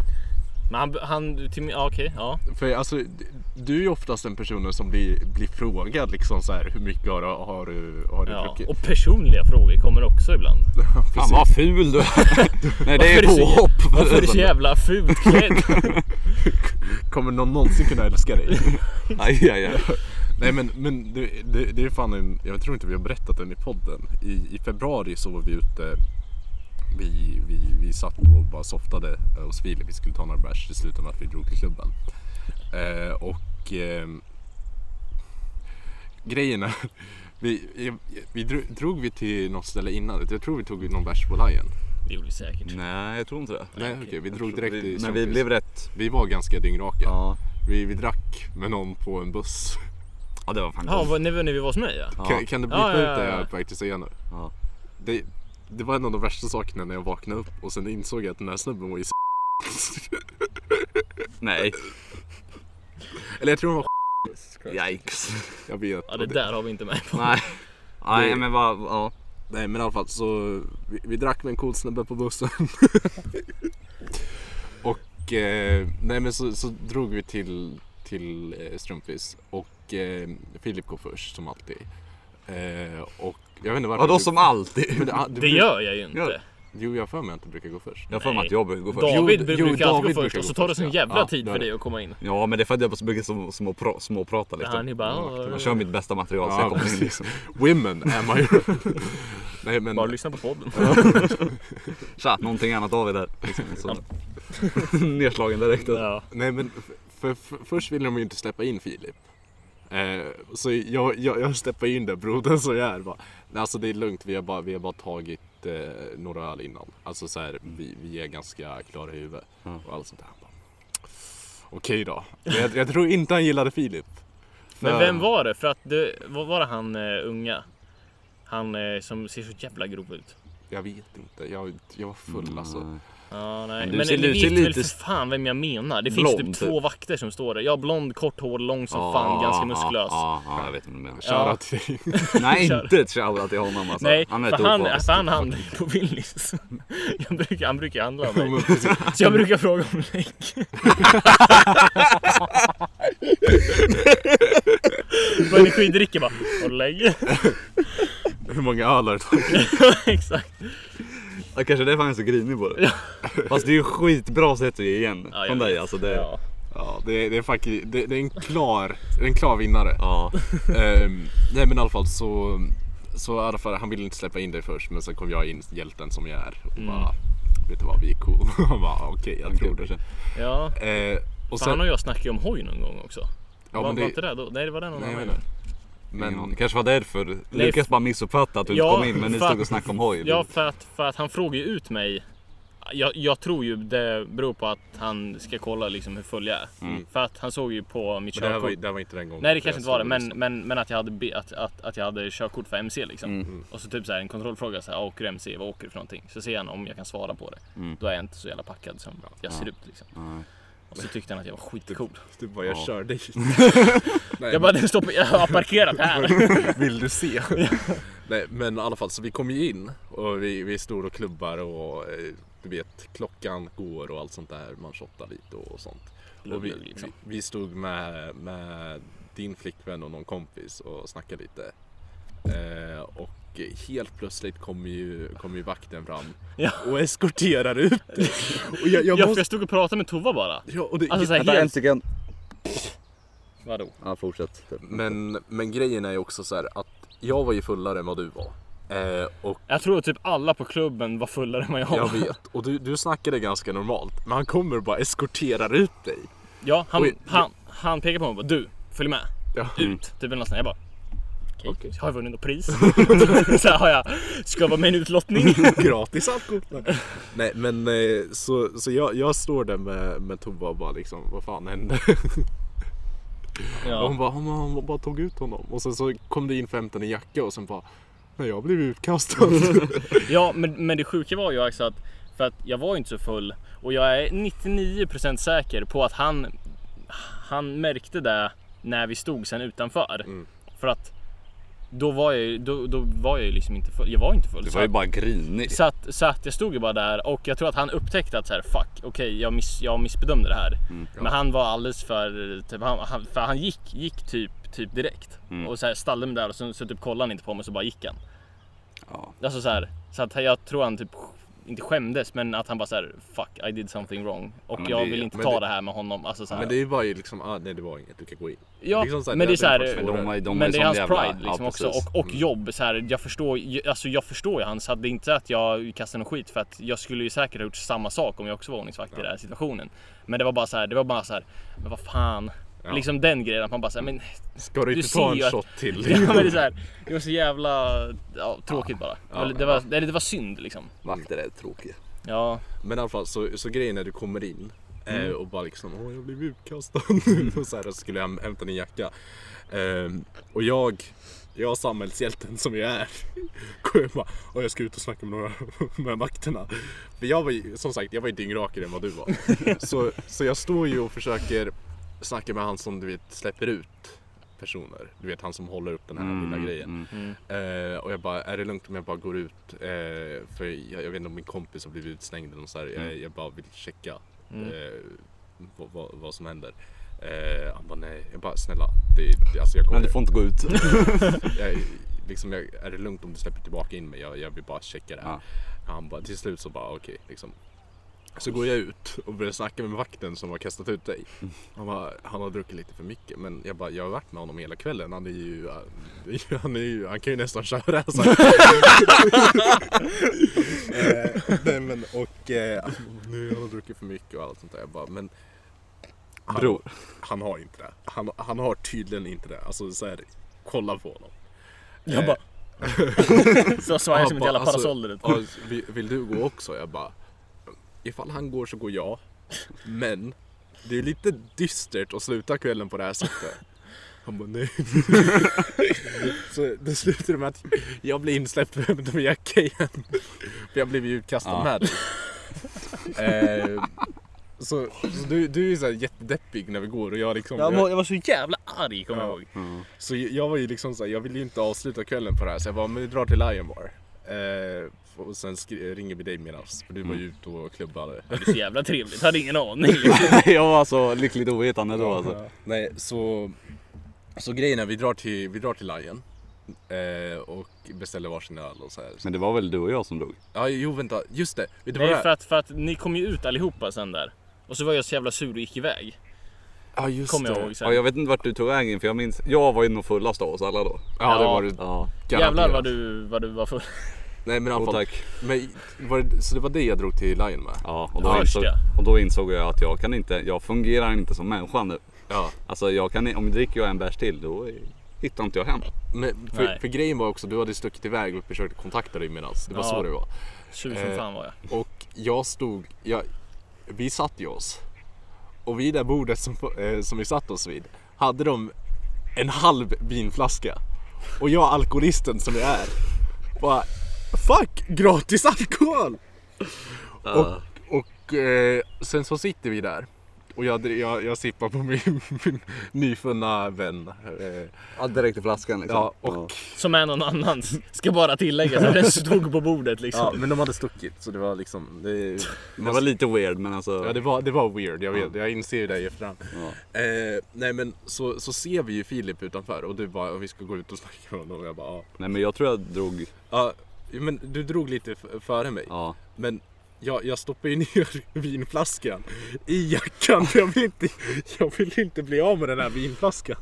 Men han, han till, min- ja, okej, ja.
För alltså, d- du är ju oftast den personen som blir, blir frågad liksom så här, hur mycket har, du- har du, har du
ja.
druckit?
Och personliga frågor kommer också ibland.
fan vad ful du är. Nej det
Varför
är
är du så-
påhopp.
Varför är du så jävla fult klädd?
Kommer någon någonsin kunna älska dig?
Aj, aj, aj.
Nej men, men det, det, det är fan en, jag tror inte vi har berättat den i podden. I, i februari så var vi ute, vi, vi, vi satt och bara softade eh, hos Filip. Vi skulle ta några bärs, det slutade med att vi drog till klubben. Eh, och eh, grejen är, vi, vi, vi drog, drog vi till något ställe innan, jag tror vi tog någon bärs på Lion.
Det gjorde vi säkert.
Nej jag tror inte det.
Nej okej, vi drog direkt till
Men vi
Showcase.
blev rätt.
Vi var ganska dyngraka.
Ja.
Vi, vi drack med någon på en buss.
Ja det var fan
Ja,
gott.
vad- när vi när vi var hos mig ja.
Ja.
Kan, kan du
Ja,
blipa
ja,
ut det
ja, ja.
jag är på väg att säga nu?
Ja.
Det, det var en av de värsta sakerna när jag vaknade upp och sen insåg jag att den här snubben var ju s-
Nej.
Eller jag tror han var
Yikes.
Jag vet.
Ja, det
Och
där har vi inte med på.
Nej. Nej
Det-
men vad, ja.
Nej men i alla fall så vi, vi drack med en cool snubbe på bussen. och eh, nej men så, så drog vi till, till eh, Strumpis och eh, Filip går först som alltid. Eh, och jag vet inte varför.
Vadå
du-
som alltid?
Men, ah, du
Det
bruk-
gör jag ju inte.
Gör det.
Jo jag har för mig att du brukar gå först.
Jag har för mig
Nej.
att jag brukar gå först.
David brukar
Jo, jo,
alltid
David
gå först
brukar
och
gå
så tar det
först,
sån
ja.
jävla
Ja,
tid
det
för
är
dig att komma in.
Ja men det är för att jag bara brukar små, småpra, småprata lite.
Han är bara...
Jag kör mitt bästa material så
Ja,
jag kommer in
precis.
liksom.
Women am I. nej men.
Bara lyssna på podden.
Tja, någonting annat av det där. Liksom, så. Nedslagen direkt.
Ja.
Nej men för, för, först ville de ju inte släppa in Filip. Eh, så jag, jag, jag steppade in där brodern som jag är. Bara, "Nej, alltså det är lugnt, vi har bara, vi har bara tagit eh, några öl innan. Alltså så här, vi, vi är ganska klara i huvudet. Och allt sånt där. Han bara, Okej då. Men Jag, jag tror inte han gillade Filip.
Men
För-
vem var det? För att det, vad var det han eh, unga? Han eh, som ser så jävla grov ut.
Jag vet inte, jag, jag var full
Mm.
Mm.
alltså.
Ja, nej.
Men du
Men,
ser-
ni
du
vet
ser
väl
lite-
för fan vem jag menar? Det
Blond,
finns typ två
typ. Ah,
vakter som står där. Ja, blond, kort hår, lång som fan, ganska muskulös.
Ja, ja, jag vet inte vad du menar.
Shoutout till dig.
Nej, inte ett shoutout till honom alltså.
Nej,
han är ett
för han,
opartisk.
för han handlar ju på Willys. Jag brukar, han brukar handla av
Ja, men
mig.
precis.
Så jag brukar fråga om lägg. På energidrycker bara, och lägg.
Hur många öl har du tagit?
Exakt.
Ja, kanske därför han är så grinig på det. Fast det är ju skitbra sätt att ge igen
Ja, jag
från dig
vet.
alltså. Det,
Ja.
Ja, det, det är faktiskt, det, det är en klar, det är en klar vinnare.
ja.
Ehm, nej men i alla fall så, så i alla fall, han ville inte släppa in dig först men sen kom jag in, hjälten som jag är och bara Vet du vad, vi är cool. Han bara okej jag tror det.
ja.
Eh,
Fan
och sen,
och jag snackade ju om hoj någon gång också.
ja,
var,
men det,
var inte det då? Nej det var den någon
nej, jag
annan
menar.
gång.
Ingen aning.
Men,
Det kanske var därför Lukas bara missuppfattade att du
Ja,
inte kom in men ni
för-
stod och snackade om hoj.
Ja för att, för att han frågar ju ut mig. Jag, jag tror ju det beror på att han ska kolla liksom hur full jag är. För att han såg ju på mitt
Mm. det, här var,
körkort.
ju- det här var inte den gången.
Nej det kanske inte var det
Jag liksom.
men,
stod och
men, men att, jag hade, be- att, att, att jag hade körkort för MC liksom.
Mm.
Och så typ så här, en kontrollfråga så här, åker du MC? Vad åker du för någonting? Så ser han om jag kan svara på det.
Mm.
Då är jag inte så jävla packad som jag ser ut liksom. Och så tyckte han att jag var
Typ.
skitcool.
lyssnade. Du bara jag kör dig. nej,
Jag bara, den står på, jag har parkerat här.
vill du se? nej men i alla fall så vi kom ju in och vi, vi stod och klubbar och eh, du vet klockan går och allt sånt där. Man shottar lite och sånt. Och vi,
Lugg, lugg, liksom.
vi, vi stod med, med din flickvän och någon kompis och snackade lite. Eh, och helt plötsligt kommer ju, kom ju vakten fram
Ja.
och eskorterar ut dig. Och jag, jag
Jag,
måste...
jag stod och pratade med Tova bara.
Ja, och det,
Alltså så här,
Vänta en
helt...
sekund.
Vadå?
Ja, fortsätt.
men, men grejen är ju också så här att jag var ju fullare än vad du var. Eh, och
Jag tror typ alla på klubben var fullare än vad jag
jag
var.
vet, och du, du snackade ganska normalt. Men han kommer och bara eskorterar ut dig.
Ja, han,
Oj.
han, han pekar på mig och bara, du, följ med.
Ja. Mm.
Ut, typ eller något sånt. Jag bara, okej,
Okej.
har jag vunnit något pris? så här har jag, ska jag vara med i en utlottning?
Gratis alkohol! Nej men eh, så, så jag, jag står där med, med Tova och bara liksom, vad fan hände? Och
Ja.
hon bara, han, han bara tog ut honom. Och sen så kom det in 15 i jacka och sen bara, nej jag blev utkastad.
Ja, men, men det sjuka var ju också att, för att jag var ju inte så full och jag är 99% säker på att han, han märkte det när vi stod sen utanför.
Mm.
För att då var jag ju, då, då var jag ju liksom inte full. Jag var inte full.
Du
så
var ju
att-
bara grinig.
Så att, så att jag stod ju bara där och jag tror att han upptäckte att så här, fuck, okej jag, miss, jag missbedömde det här.
Mm.
Men han var alldeles för, typ, han, han, för han gick, gick typ, typ direkt.
Mm.
Och så här, ställde mig där och så, så typ kollade han inte på mig och så bara gick han.
Ja.
Alltså så här, så att jag tror han typ, inte skämdes men att han bara så här, fuck I did something wrong. Och
men
jag
det-
vill inte
men
ta
det-
det, här med honom. Alltså, så här.
Men det är ju bara ju liksom, ah, nej det var inget, du kan gå in.
Ja,
liksom så här,
men det är
det
så
hade varit
här,
svårare.
De har ju- de har ju
men det är
sån
hans
jävla-
pride liksom
ja,
också
precis.
och,
Mm.
och jobb. Så här, jag, förstår, ju- alltså, jag förstår ju han så att det är inte så att jag kastar någon skit för att jag skulle ju säkert ha gjort samma sak om jag också var ordningsvakt i den här situationen. Men det var bara så här, det var bara så här, men vad fan.
Ja.
Liksom den grejen att man bara så här, men,
Ska du
Du
inte
ser
ta en
ju att-
shot till?
ja, men det, är så här, det var så jävla ja, tråkigt bara. Eller det, var, eller det var synd liksom.
Vakter är tråkiga.
Ja,
Men i alla fall så, så grejen är du kommer in eh, och bara liksom åh jag blev utkastad. och så här så skulle jag häm- hämta din jacka. Ehm, och jag, jag samhällshjälten som jag är. Går jag bara, och jag ska ut och snacka med några med vakterna. För jag var ju, som sagt jag var ju dyngrakare än vad du var. så, så jag står ju och försöker snacka med han som du vet släpper ut personer. Du vet han som håller upp den här
Mm,
Mm.
lilla grejen. Eh, och jag bara, är det lugnt om jag bara går ut? Eh, för jag, jag vet inte om min kompis har blivit utslängd eller något så här.
Mm.
Jag, jag bara vill checka
Mm.
eh, vad, vad, vad som händer. Eh, han bara, nej. Jag bara, snälla. Det, det, alltså jag
Men
kommer,
du får inte gå ut.
jag, liksom, jag, är det lugnt om du släpper tillbaka in mig? Jag, jag vill bara checka det här. Han bara, till slut så bara, okej. liksom. Så går jag ut och börjar snacka med vakten som har kastat ut dig. Han, bara, han har druckit lite för mycket. Men jag bara, jag har varit med honom hela kvällen. Han är ju, eh, han, är ju, han kan ju nästan köra. Så här. Eh, nej men och eh, han bara, nu har han druckit för mycket och allt sånt där. Jag bara, men han,
Bror.
han har inte det. Han, han har tydligen inte det. Alltså så här, kolla på honom.
jag bara. så svajar som ett jävla typ.
alltså,
parasoll där ute.
alltså, vill, vill du gå också? Jag bara, ifall han går så går jag. Men det är ju lite dystert att sluta kvällen på det här sättet. Han bara nej. så det slutade med att jag blir insläppt med min jacka igen. För jag blev ju utkastad
Ja.
med dig. Eh, så, så du, du är ju såhär jättedeppig när vi går och jag liksom...
Jag
jag-
var, jag var så jävla arg kommer jag
Ja.
ihåg.
så jag var ju liksom såhär, jag ville ju inte avsluta kvällen på det här så jag bara, men vi drar till Lion Bar. Eh, och sen skri- ringer vi dig medans, för du var ju ute och klubbade.
Det är så jävla trevligt, hade ingen aning. liksom.
jag var så lyckligt ovetande då alltså.
Nej, så, så grejen är, vi drar till, vi drar till Lion. Eh, och beställer varsin öl och så här.
Men det var väl du och jag som drog?
Ja, jo vänta, just det. Vet du vad
Nej
det
för
är?
att, för att ni kom ju ut allihopa sen där. Och så var jag så jävla sur och gick iväg.
Ja, just
Kommer jag
det.
ihåg sen.
Ja, jag vet inte vart du tog vägen för jag minns, jag var ju nog fullast av oss alla då.
Ja, det
Ja.
var det.
Ja.
Jävlar
garanterat.
vad du, vad du var full.
Nej men i alla
Jo,
fall.
tack.
Men, var det, så det var det jag drog till Lion med?
Ja, och då,
Först,
insåg,
ja.
och då insåg jag att jag kan inte, jag fungerar inte som människa nu.
Ja.
Alltså jag kan, om jag dricker jag en bärs till då eh, hittar inte jag hem.
Men, för,
Nej.
för grejen var också, du hade stuckit iväg och försökt kontakta dig medans. Det var
Ja.
så det var.
Sur som
Eh,
fan var jag.
Och jag stod, jag, vi satt ju oss. Och vid det bordet som, eh, som vi satt oss vid hade de en halv vinflaska. Och jag, alkoholisten som jag är, bara Fuck! Gratis alkohol! Ah.
Ja.
Och, och eh, sen så sitter vi där. Och jag, dri- jag, jag sippar på min, min nyfunna vän. Eh,
Ja, direkt i flaskan liksom.
ja, och,
Som är någon annans. Ska bara tillägga så den stod på bordet
ja,
liksom.
men de hade stuckit så det var liksom... Det,
Det var lite weird men alltså.
Ja det var, det var weird, jag, vet, jag inser ju det i efterhand. Eh, nej men så, så ser vi ju Filip utanför och du bara vi ska gå ut och snacka med honom och jag bara ja.
Nej men jag tror jag drog,
ja. Men du drog lite f- före mig.
ja.
Men jag, jag stoppar ju ner vinflaskan i jackan för jag vill, inte, jag vill inte bli av med den här vinflaskan.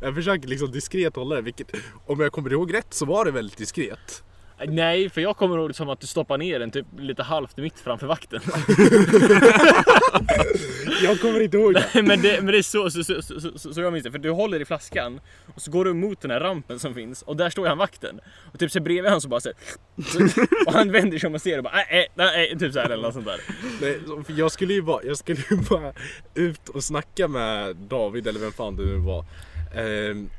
Jag försöker liksom diskret hålla det, vilket om jag kommer ihåg rätt så var det väldigt diskret.
Nej för jag kommer ihåg det som att du stoppade ner den typ lite halvt mitt framför vakten.
Jag kommer inte ihåg det.
men, det, men det är så, så, så, så, så, så jag minns det. För du håller i flaskan och så går du emot den här rampen som finns och där står han vakten. Och typ så bredvid han så bara så, här- Och han vänder sig om och ser och bara nej, nej, nej, typ så här eller något sånt där.
Nej, så- för jag skulle ju bara, jag skulle ju bara ut och snacka med David eller vem fan det nu var. Ehm,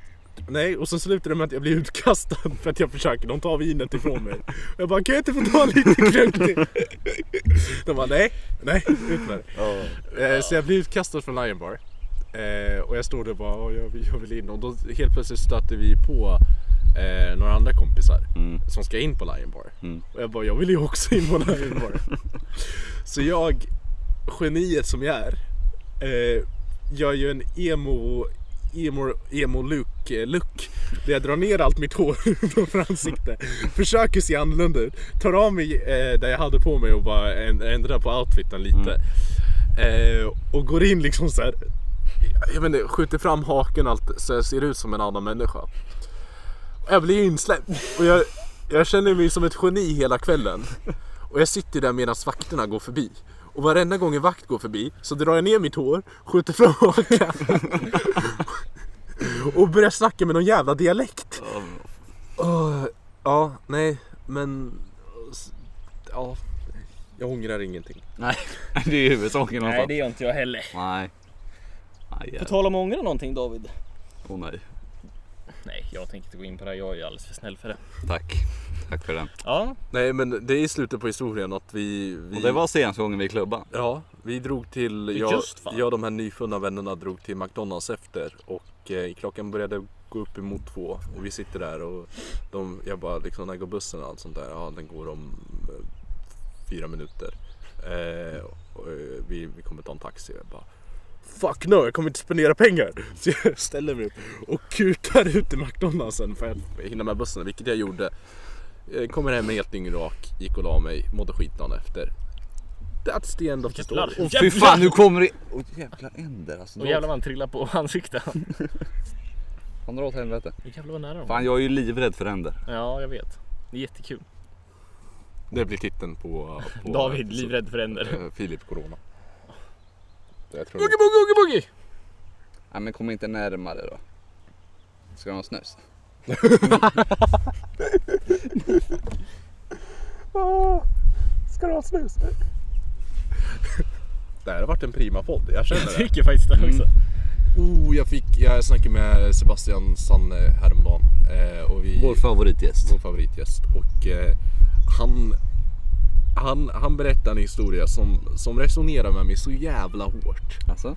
nej, och så slutar det med att jag blir utkastad för att jag försöker, de tar vinet ifrån mig. Och jag bara, kan jag inte få ta lite klunk till? De bara, nej, nej, ut med det. Eh, Så jag blir utkastad från Lion Bar. Eh, och jag står där och bara, "Åh, jag vill, jag vill in. Och då helt plötsligt stöter vi på eh, några andra kompisar som ska in på Lion Bar. Och jag bara, jag vill ju också in på Lion Bar. Så jag, geniet som jag är, eh, gör ju en emo emo, emo look, eh, look där jag drar ner allt mitt hår framför ansiktet. Försöker se annorlunda ut. Tar av mig eh, det jag hade på mig och bara änd- ändrar på outfiten lite. Eh, och går in liksom så här. Jag vet inte, skjuter fram haken och allt så jag ser ut som en annan människa. Och Jag blir insläppt och jag, jag känner mig som ett geni hela kvällen. Och jag sitter där medan vakterna går förbi. Och varenda gång en vakt går förbi så drar jag ner mitt hår, skjuter fram hakan och börjar snacka med någon jävla dialekt. Åh, ja, nej, men... Ja, jag ångrar ingenting.
Nej, det är ju huvudsaken
Nej,
någonstans.
det gör inte jag heller.
Nej. Aj,
På
jävlar.
tal om ångra någonting David?
Åh nej.
Nej, jag tänker inte gå in på det här. Jag är ju alldeles för snäll för det.
Tack. Tack för den.
Ja,
Nej, men det är slutet på historien att vi... vi
Och det var senaste gången vi klubbade.
Ja, vi drog till... Jag,
Just fan.
jag och de här nyfunna vännerna drog till McDonalds efter och eh, klockan började gå upp emot två och vi sitter där och de, jag bara liksom, när går bussen och allt sånt där? Ja, den går om eh, fyra minuter. Eh, och, eh, vi, vi kommer ta en taxi och jag bara Fuck no, jag kommer inte spendera pengar! Så jag ställer mig upp och kutar ut i McDonaldsen för att hinna med bussen, vilket jag gjorde. Eh, Kommer hem helt dyngrak, gick och la mig, mådde skit dagen efter. That's the end of the
jävlar.
story.
Fy
Jävlar!
fan, nu kommer det... Åh jävla änder alltså.
Och jävlar vad han trillar på ansiktet.
Han drar åt helvete.
Jävlar vad nära de var.
Fan, jag är ju livrädd för änder.
Ja, jag vet. Det är jättekul.
Det blir titeln på... på
David, livrädd för änder.
eh, Filip Corona. Jag tror
Boogie, boogie, boogie, boogie!
Nej men kom inte närmare då. Ska du ha en snus?
Ska du ha snus? Det här har varit en prima podd, jag
Jag
känner det.
tycker faktiskt det också.
Oh, jag, fick, jag snackade med Sebastian Sanne häromdagen. Eh, och vi,
Vår favoritgäst.
vår favoritgäst. Och eh, han, han, han berättade en historia som, som resonerar med mig så jävla hårt.
Alltså?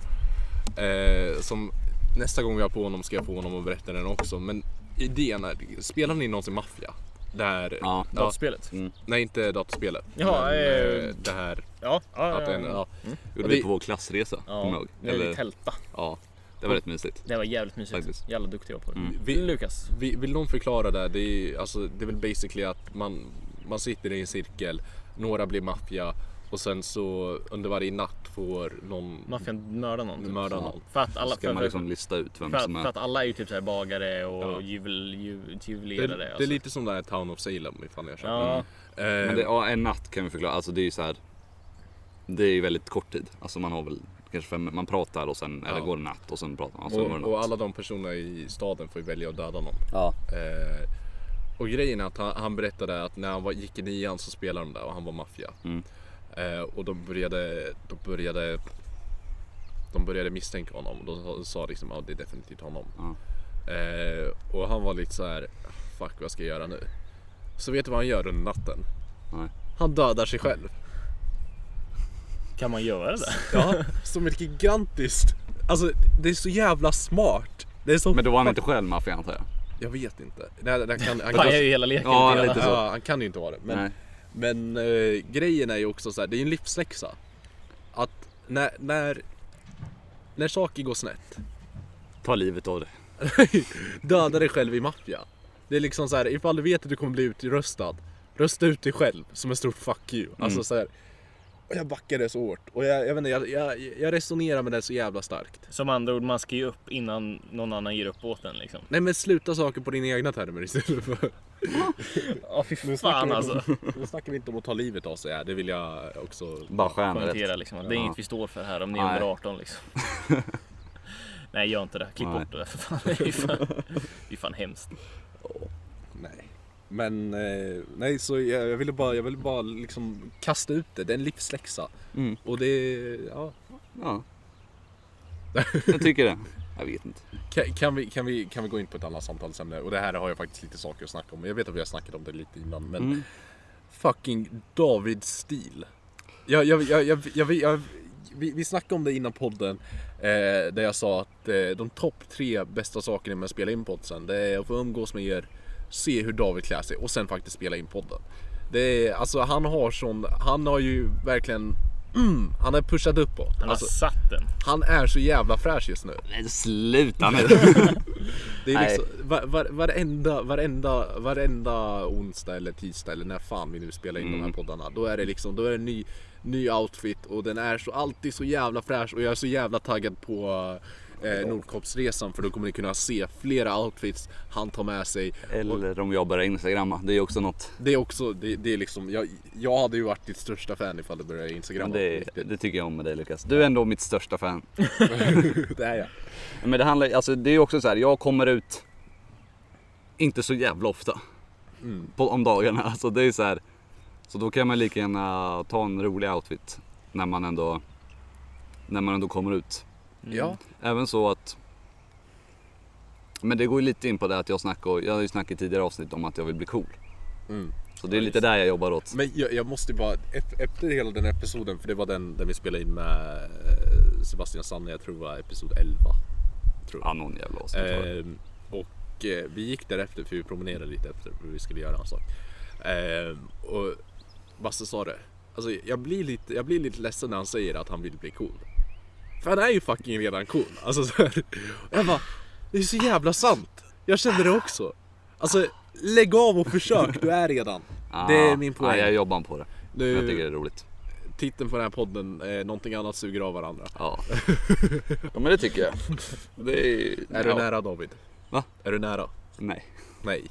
Eh, som nästa gång vi har på honom ska jag få honom att berätta den också. Men idén är, spelar ni någonsin Mafia? Där,
Ja.
Datorspelet.
Nej inte datorspelet.
Jaha,
men,
eh,
eh, det här.
Ja, ja,
Att
ja.
en,
ja.
ja.
Gjorde
Det-
vi på vår klassresa.
Ja,
Kommer du
när
ihåg?
vi
Eller,
tälta.
ja. Det var rätt mysigt.
Det var jävligt mysigt.
Faktiskt.
Jävla duktig jag var på det.
Vi-
Lukas.
Vi- Vill någon förklara det? här? Det är, alltså, det är väl basically att man, man sitter i en cirkel, några blir maffia och sen så under varje natt får någon
Maffian mördar någon. typ.
mörda någon.
För att alla,
Ska
för,
man
för,
liksom lista ut vem
för, att,
som
för
är...
att alla är ju typ så här bagare och
Ja.
juvel, ju-
Det,
juvelerare.
det är
alltså.
lite som det här Town of Salem ifall jag känner.
Ja,
Men
Eh,
det, ja, en natt kan vi förklara. Alltså det är ju så här. Det är ju väldigt kort tid. Alltså man har väl kanske fem, man pratar och sen, eller
Ja.
går det natt och sen pratar man. Och sen går det
och, och
natt.
alla de personerna i staden får ju välja att döda någon.
Ja.
Eh, och grejen är att han, han berättade att när han var, gick i nian så spelade de där och han var maffia.
Mm.
Eh, och de började, de började de började misstänka honom och de sa- sa liksom att det är definitivt honom.
Ja.
Eh, och han var lite så här, fuck vad ska jag göra nu? Så vet du vad han gör under natten?
Nej.
Han dödar sig själv.
kan man göra det?
Ja, som ett gigantiskt, alltså det är så jävla smart. Det är så,
Men då var han inte själv maffia antar jag?
jag vet inte. Nej, det där kan, han,
Pajar
kan,
ju hela leken.
Ja,
till alla.
lite så.
ja, han kan ju inte vara det. Men,
Nej.
Men eh, grejen är ju också så här, det är ju en livsläxa. Att när, när, när saker går snett,
Ta livet av det.
döda dig själv i maffia. Det är liksom så här, ifall du vet att du kommer bli utröstad, rösta ut dig själv som en stort fuck you. Alltså så här, Och jag backade så hårt. Och jag, jag vet inte, jag, jag, jag resonerar med det så jävla starkt.
Som andra ord, man ska ju upp innan någon annan ger upp åt en liksom.
Nej men sluta saker på dina egna termer istället för...
Ja, fy fan alltså.
Nu snackar vi inte om att ta livet av sig här, det vill jag också...
Bara stjärnrätt.
Poängtera liksom. att Det är inget vi står för här om ni är
Nej.
under 18 liksom. Nej, gör inte det. Klipp
Nej.
bort det där för fan. Det är ju fan, det är fan hemskt.
Nej. Men eh, nej, så jag, jag ville bara, jag ville bara liksom kasta ut det. Det är en livsläxa.
Mm.
Och det, ja.
Ja. Jag tycker det. Jag vet inte.
Kan, kan, vi, kan, vi, kan vi gå in på ett annat samtalsämne? Och det här har jag faktiskt lite saker att snacka om. Jag vet att vi har snackat om det lite innan, men
Mm.
fucking David Stil. Jag, jag, jag, jag, jag, jag, jag, vi, vi snackade om det innan podden, eh, där jag sa att eh, de topp tre bästa sakerna med att spela in podden, det är att få umgås med er, se hur David klär sig och sen faktiskt spela in podden. Det är, alltså han har sån, han har ju verkligen, mm, han har pushat uppåt.
Han har
Alltså,
satt den.
han är så jävla fräsch just nu.
Men sluta nu.
Det är
Nej.
liksom, var, var, varenda, varenda, varenda onsdag eller tisdag eller när fan vi nu spelar in
Mm.
de här poddarna. Då är det liksom, då är det en ny, ny outfit och den är så, alltid så jävla fräsch och jag är så jävla taggad på eh, Nordkoppsresan för då kommer ni kunna se flera outfits han tar med sig.
Eller om jag börjar instagramma. Det är ju också något.
Det är också, det, det är liksom, jag, jag hade ju varit ditt största fan ifall du började
Men
instagramma.
det, det tycker jag om med dig Lukas. Du är ändå mitt största fan.
det är jag.
Men det handlar alltså det är ju också så här, jag kommer ut inte så jävla ofta
Mm.
på, om dagarna. Alltså det är så här, så då kan man lika gärna ta en rolig outfit när man ändå, när man ändå kommer ut.
Mm.
Ja,
Även så att, men det går ju lite in på det att jag snackar, jag har ju snackat i tidigare avsnitt om att jag vill bli cool.
Mm.
Så det är lite där jag jobbar åt.
Men jag, jag måste ju bara, ef- efter hela den här episoden, för det var den där vi spelade in med eh, Sebastian Sanne, jag tror det var episod 11.
Ja, Ah, någon jävla avsnitt. har jag.
Ehm, och eh, vi gick därefter, för vi promenerade lite efter, för vi skulle göra en sak. Ehm, och Basse sa det, alltså jag blir, lite, jag blir lite ledsen när han säger att han vill bli cool. För han är ju fucking redan cool. Alltså så här. Och jag bara, det är så jävla sant. Jag kände det också. Alltså, lägg av och försök, du är redan. Eh, Det är min poäng.
Ja, Ah, jag jobbar på det. Men jag
Nu-
tycker det är roligt.
titeln på den här podden, eh, någonting annat suger av varandra.
Ja. ja men det tycker jag. Det är...
Är
ja.
du nära David?
Va?
Är du nära?
Nej.
Nej.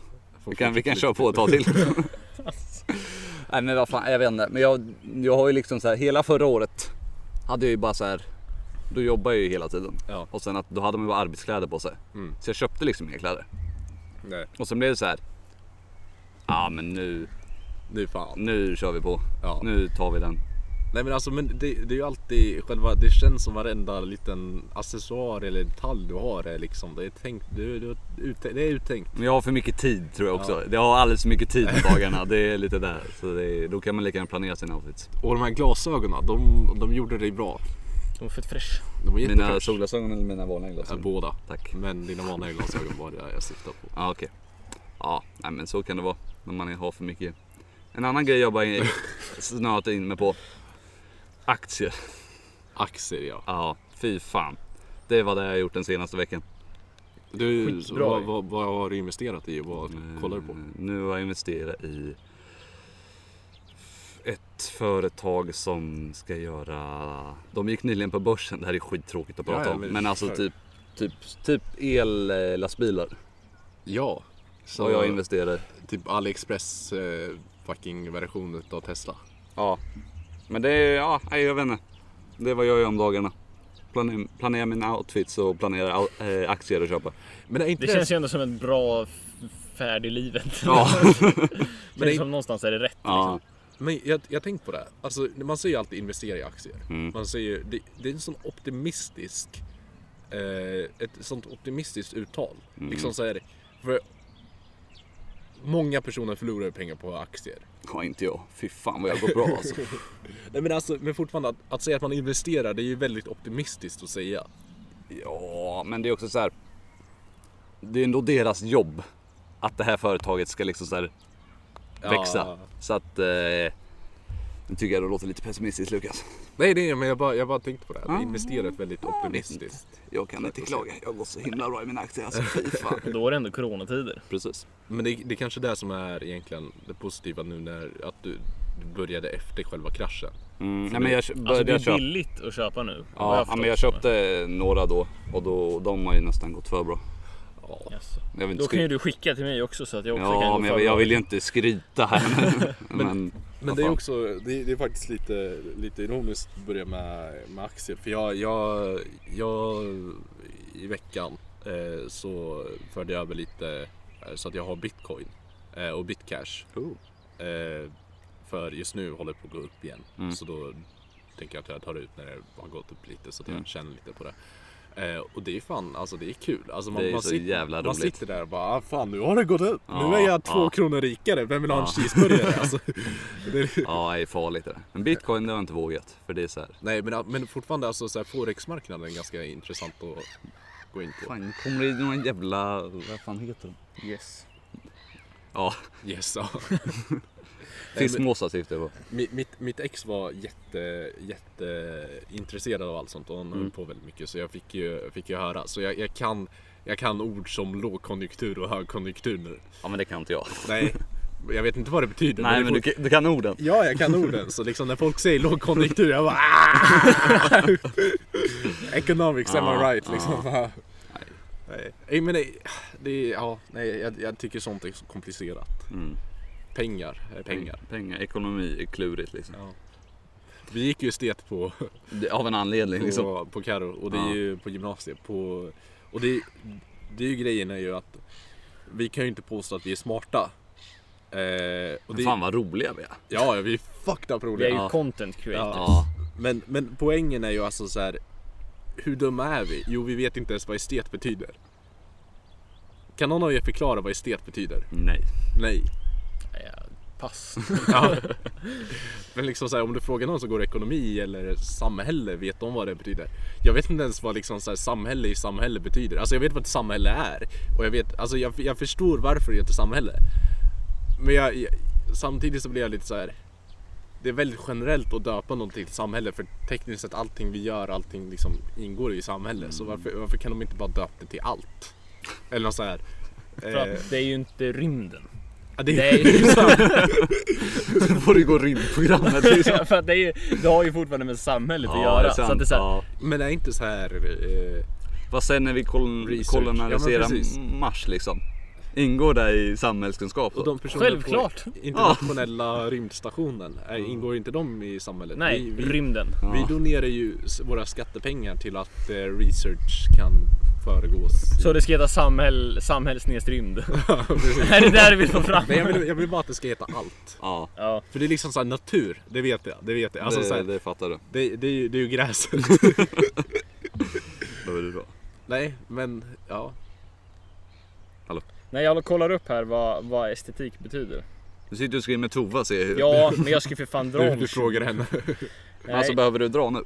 Vi kan, vi kan köra på ett tag till. Nej men vad fan, jag vet inte. Men jag, jag har ju liksom så här, hela förra året hade jag ju bara så här. Då jobbar jag ju hela tiden.
Ja.
Och sen att då hade man ju bara arbetskläder på sig.
Mm.
Så jag köpte liksom inga kläder.
Nej,
Och sen blev det så här. Ja men nu,
nu fan.
nu kör vi på.
Ja.
Nu tar vi den.
Nej men alltså men det, det är ju alltid själva, det känns som varenda liten accessoar eller detalj du har är liksom, det är tänkt, det, det, det, det är uttänkt.
Men jag har för mycket tid tror jag också. Jag har alldeles för mycket tid på dagarna. Det är lite där. Så det är, då kan man lika gärna planera sina outfits.
Och de här glasögonen, de, de gjorde dig bra.
De är fett fresh.
De var
Mina
jättefräscha.
solglasögon eller mina vanliga
Ja,
glasögon?
Båda.
Tack.
Men dina vanliga glasögon var det jag syftade på.
Ja, okej. Ja, nej, men så kan det vara när man har för mycket. En annan grej jag bara in- snöat in mig på. Aktier.
Aktier ja.
Ja, fy fan. Det var det jag har gjort den senaste veckan.
Du,
Skitbra.
vad, vad, vad har du investerat i och vad kollar du på?
Eh, Nu har jag investerat i ett företag som ska göra... De gick nyligen på börsen. Det här är skittråkigt att
Ja,
prata
ja,
om.
men-
Men alltså
kör.
typ, typ, typ ellastbilar.
Ja. Så
Så jag investerar i.
Typ AliExpress eh, fucking version utav Tesla.
Ja. Men det är, ja, nej, jag vet inte. Det är vad jag gör om dagarna. Planerar, planerar mina outfits och planerar au- eh, aktier att köpa.
Men är inte
Det känns ju ändå som ett bra f- färd i livet.
Ja.
Men
det-
det... som någonstans är det rätt.
ja.
Men jag, jag tänkte på det. här. Alltså, man säger ju alltid investera i aktier. Man säger ju- det, det är en sån optimistisk, eh, ett sånt optimistiskt uttal. Liksom så är det. För många personer förlorar ju pengar på aktier.
ja, inte jag. Fy fan vad jag går bra alltså.
Nej, men, alltså, men fortfarande, att, att säga att man investerar, det är ju väldigt optimistiskt att säga.
Ja, men det är också så här. Det är ändå deras jobb att det här företaget ska liksom så här växa.
Ja.
Så att... Eh, nu tycker jag det låter lite pessimistiskt Lukas.
Nej, det är, men jag bara, jag bara tänkte på det. Här. Det är investerat väldigt optimistiskt.
Jag kan inte klaga. Jag går så himla bra i mina aktier alltså. Fy fan.
Och då är det ändå coronatider.
Precis.
Men det, det är kanske det som är egentligen det positiva nu när att du, du började efter själva kraschen.
Mm, nej, men jag kö-
Alltså det
började
är
köpa.
billigt att köpa nu. har
Ja, ja, men jag
förstått.
köpte några då och då, de har ju nästan gått för bra.
Jaså.
Jag vill inte
Då kan ju
skryta.
du skicka till mig också så att jag också kan
Ja,
gå
men jag,
före.
jag vill ju inte skryta här. men, men,
Men
vad
det är
fan.
också, det är, det är faktiskt lite, lite ironiskt att börja med, med aktier. För jag, jag, jag i veckan eh, så förde jag över lite eh, så att jag har bitcoin eh, och bitcash. Eh, för just nu håller det på att gå upp igen.
Mm.
Så då tänker jag att jag tar ut när det har gått upp lite så att jag
Mm.
känner lite på det. Eh, och det är fan, alltså det är kul. Alltså man,
Det är
man
så
sitter,
jävla
Man
roligt.
sitter där och bara, ah, fan nu har det gått upp. nu
Ja,
är jag två
ja.
kronor rikare. Vem vill ha en
Ja.
cheeseburgare? Alltså, det är,
Ja, det är farligt det där. Men bitcoin det har jag inte vågat. För det är så här.
Nej men, men fortfarande alltså så här, forexmarknaden är ganska intressant att gå in på.
Fan, nu kommer det någon jävla... Vad fan heter de?
Yes.
Ja,
Yes, ja.
fiskmåsar syftar jag på.
Mi- mitt, mitt ex var jätte, jätte intresserad av allt sånt och
Mm.
han höll på väldigt mycket så jag fick ju, fick ju höra. Så jag, jag, kan, jag kan ord som lågkonjunktur och högkonjunktur nu.
Ja, men det kan inte jag.
Nej, jag vet inte vad det betyder.
Nej,
det
men du,
fort-
kan- du kan orden.
Ja, jag kan orden. Så liksom när folk säger lågkonjunktur, jag bara "Ah!" Economics, am I
Ja,
right? Liksom. Nej. Nej, men det, det är- ja, nej, jag, jag tycker sånt är så komplicerat.
Mm.
Pengar är pengar.
Pengar, ekonomi är klurigt liksom.
Ja. Vi gick ju estet på,
Det- Av en anledning liksom.
på, på Karo och det är
Ja.
ju på gymnasiet. På, och det, det är ju grejen är ju att vi kan ju inte påstå att vi är smarta. Eh, och det,
Fan vad roliga vi är.
Ja, vi är fucked up
Vi är
roliga.
ju
Ja.
content creators.
Ja,
Men, men poängen är ju alltså så här. Hur dumma är vi? Jo, vi vet inte ens vad estet betyder. Kan någon av er förklara vad estet betyder?
nej.
Nej.
Ja, pass.
Ja. men liksom så här, om du frågar någon som går ekonomi eller samhälle, vet de vad det betyder? Jag vet inte ens vad liksom så här, samhälle i samhälle betyder. Alltså jag vet vad ett samhälle är. Och jag, vet, alltså jag, jag förstår varför det heter samhälle. Men jag, jag, samtidigt så blir jag lite så här. Det är väldigt generellt att döpa någonting till samhälle för tekniskt sett allting vi gör, allting liksom ingår i samhälle. Så
Mm.
varför, varför kan de inte bara döpa det till allt? Eller något så här. eh,
För att det är ju inte rymden.
ja, det,
Det är ju
Då får du gå rymdprogrammet liksom.
för att det, är, ju- det har ju fortfarande med samhället att
det är
göra.
sant.
så att det är så här,
Ja.
men det är inte så här. Eh,
Vad sen när vi kol-
Research.
koloniserar
Ja, men precis.
Mars liksom? Ingår det i samhällskunskap
Och
då?
de personerna
Självklart.
på internationella rymdstationen, är, ingår inte de i samhället?
nej,
vi, vi,
rymden.
Ja.
vi donerar ju s- våra skattepengar till att eh, research kan föregås.
Så det ska heta samhäll, samhäll rymd. är det där du vill få fram?
Nej, jag, vill, jag vill bara att det ska heta allt.
Ja,
Ja,
För det är liksom såhär natur, det vet jag. Det vet jag. Alltså,
det,
det, så här, det.
det fattar du.
Det, är ju, det är ju gräset.
Då är det bra.
nej, men ja.
nej jag håller- kollar upp här vad, vad estetik betyder.
Du sitter och skriver med Tova ser jag ju.
Ja, men jag ska ju för fan dra
Du,
om.
du frågar henne.
Nej.
Alltså behöver du dra nu?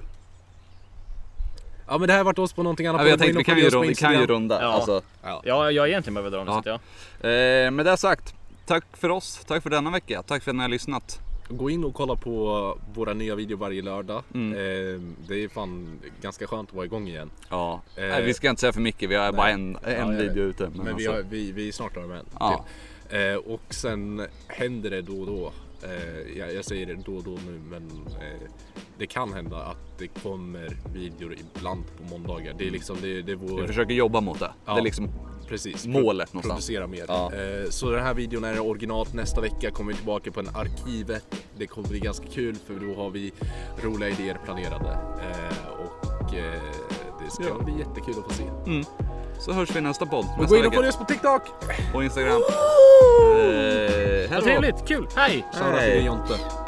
Ja men det här vart oss på någonting annat.
Ja, men jag
Gå in
tänkte vi
och
kan
följ
ju,
oss på
runda, vi kan ju
Instagram.
runda.
Ja.
Alltså.
Ja.
Ja, jag egentligen behöver dra om.
Ja.
Så att
Eh, med det sagt, tack för oss. Tack för denna vecka. Tack för att ni har lyssnat.
Gå in och kolla på våra nya videor varje lördag.
Mm.
Eh, det är fan ganska skönt att vara igång igen.
Ja.
Eh,
Nej, vi ska inte säga för mycket, vi har bara
nej.
en,
Ja, jag
en
vet.
video ute. Men,
Men, vi,
alltså,
har, vi, vi är snart klara med en
Ja.
till. Eh, och sen händer det då och då. Eh, jag, jag säger det då och då nu men eh, det kan hända att det kommer videor ibland på måndagar. Det är liksom det, det är
vi
vår...
försöker jobba mot det.
Ja.
Det är liksom
Precis. Pro-
målet någonstans.
Producera mer.
Ja.
Eh, så den här videon är originalt. Nästa vecka kommer vi tillbaka på en arkivet. Det kommer bli ganska kul för då har vi roliga idéer planerade. Eh, och eh, det ska
Ja.
bli jättekul att få se.
Så hörs vi i nästa podd.
Och gå
Nästa
in och
vecka.
följ oss på TikTok!
På Instagram. Eh, hej då.
Vad trevligt, kul, hej!
Shoutout till
Hej.
dig Jonte.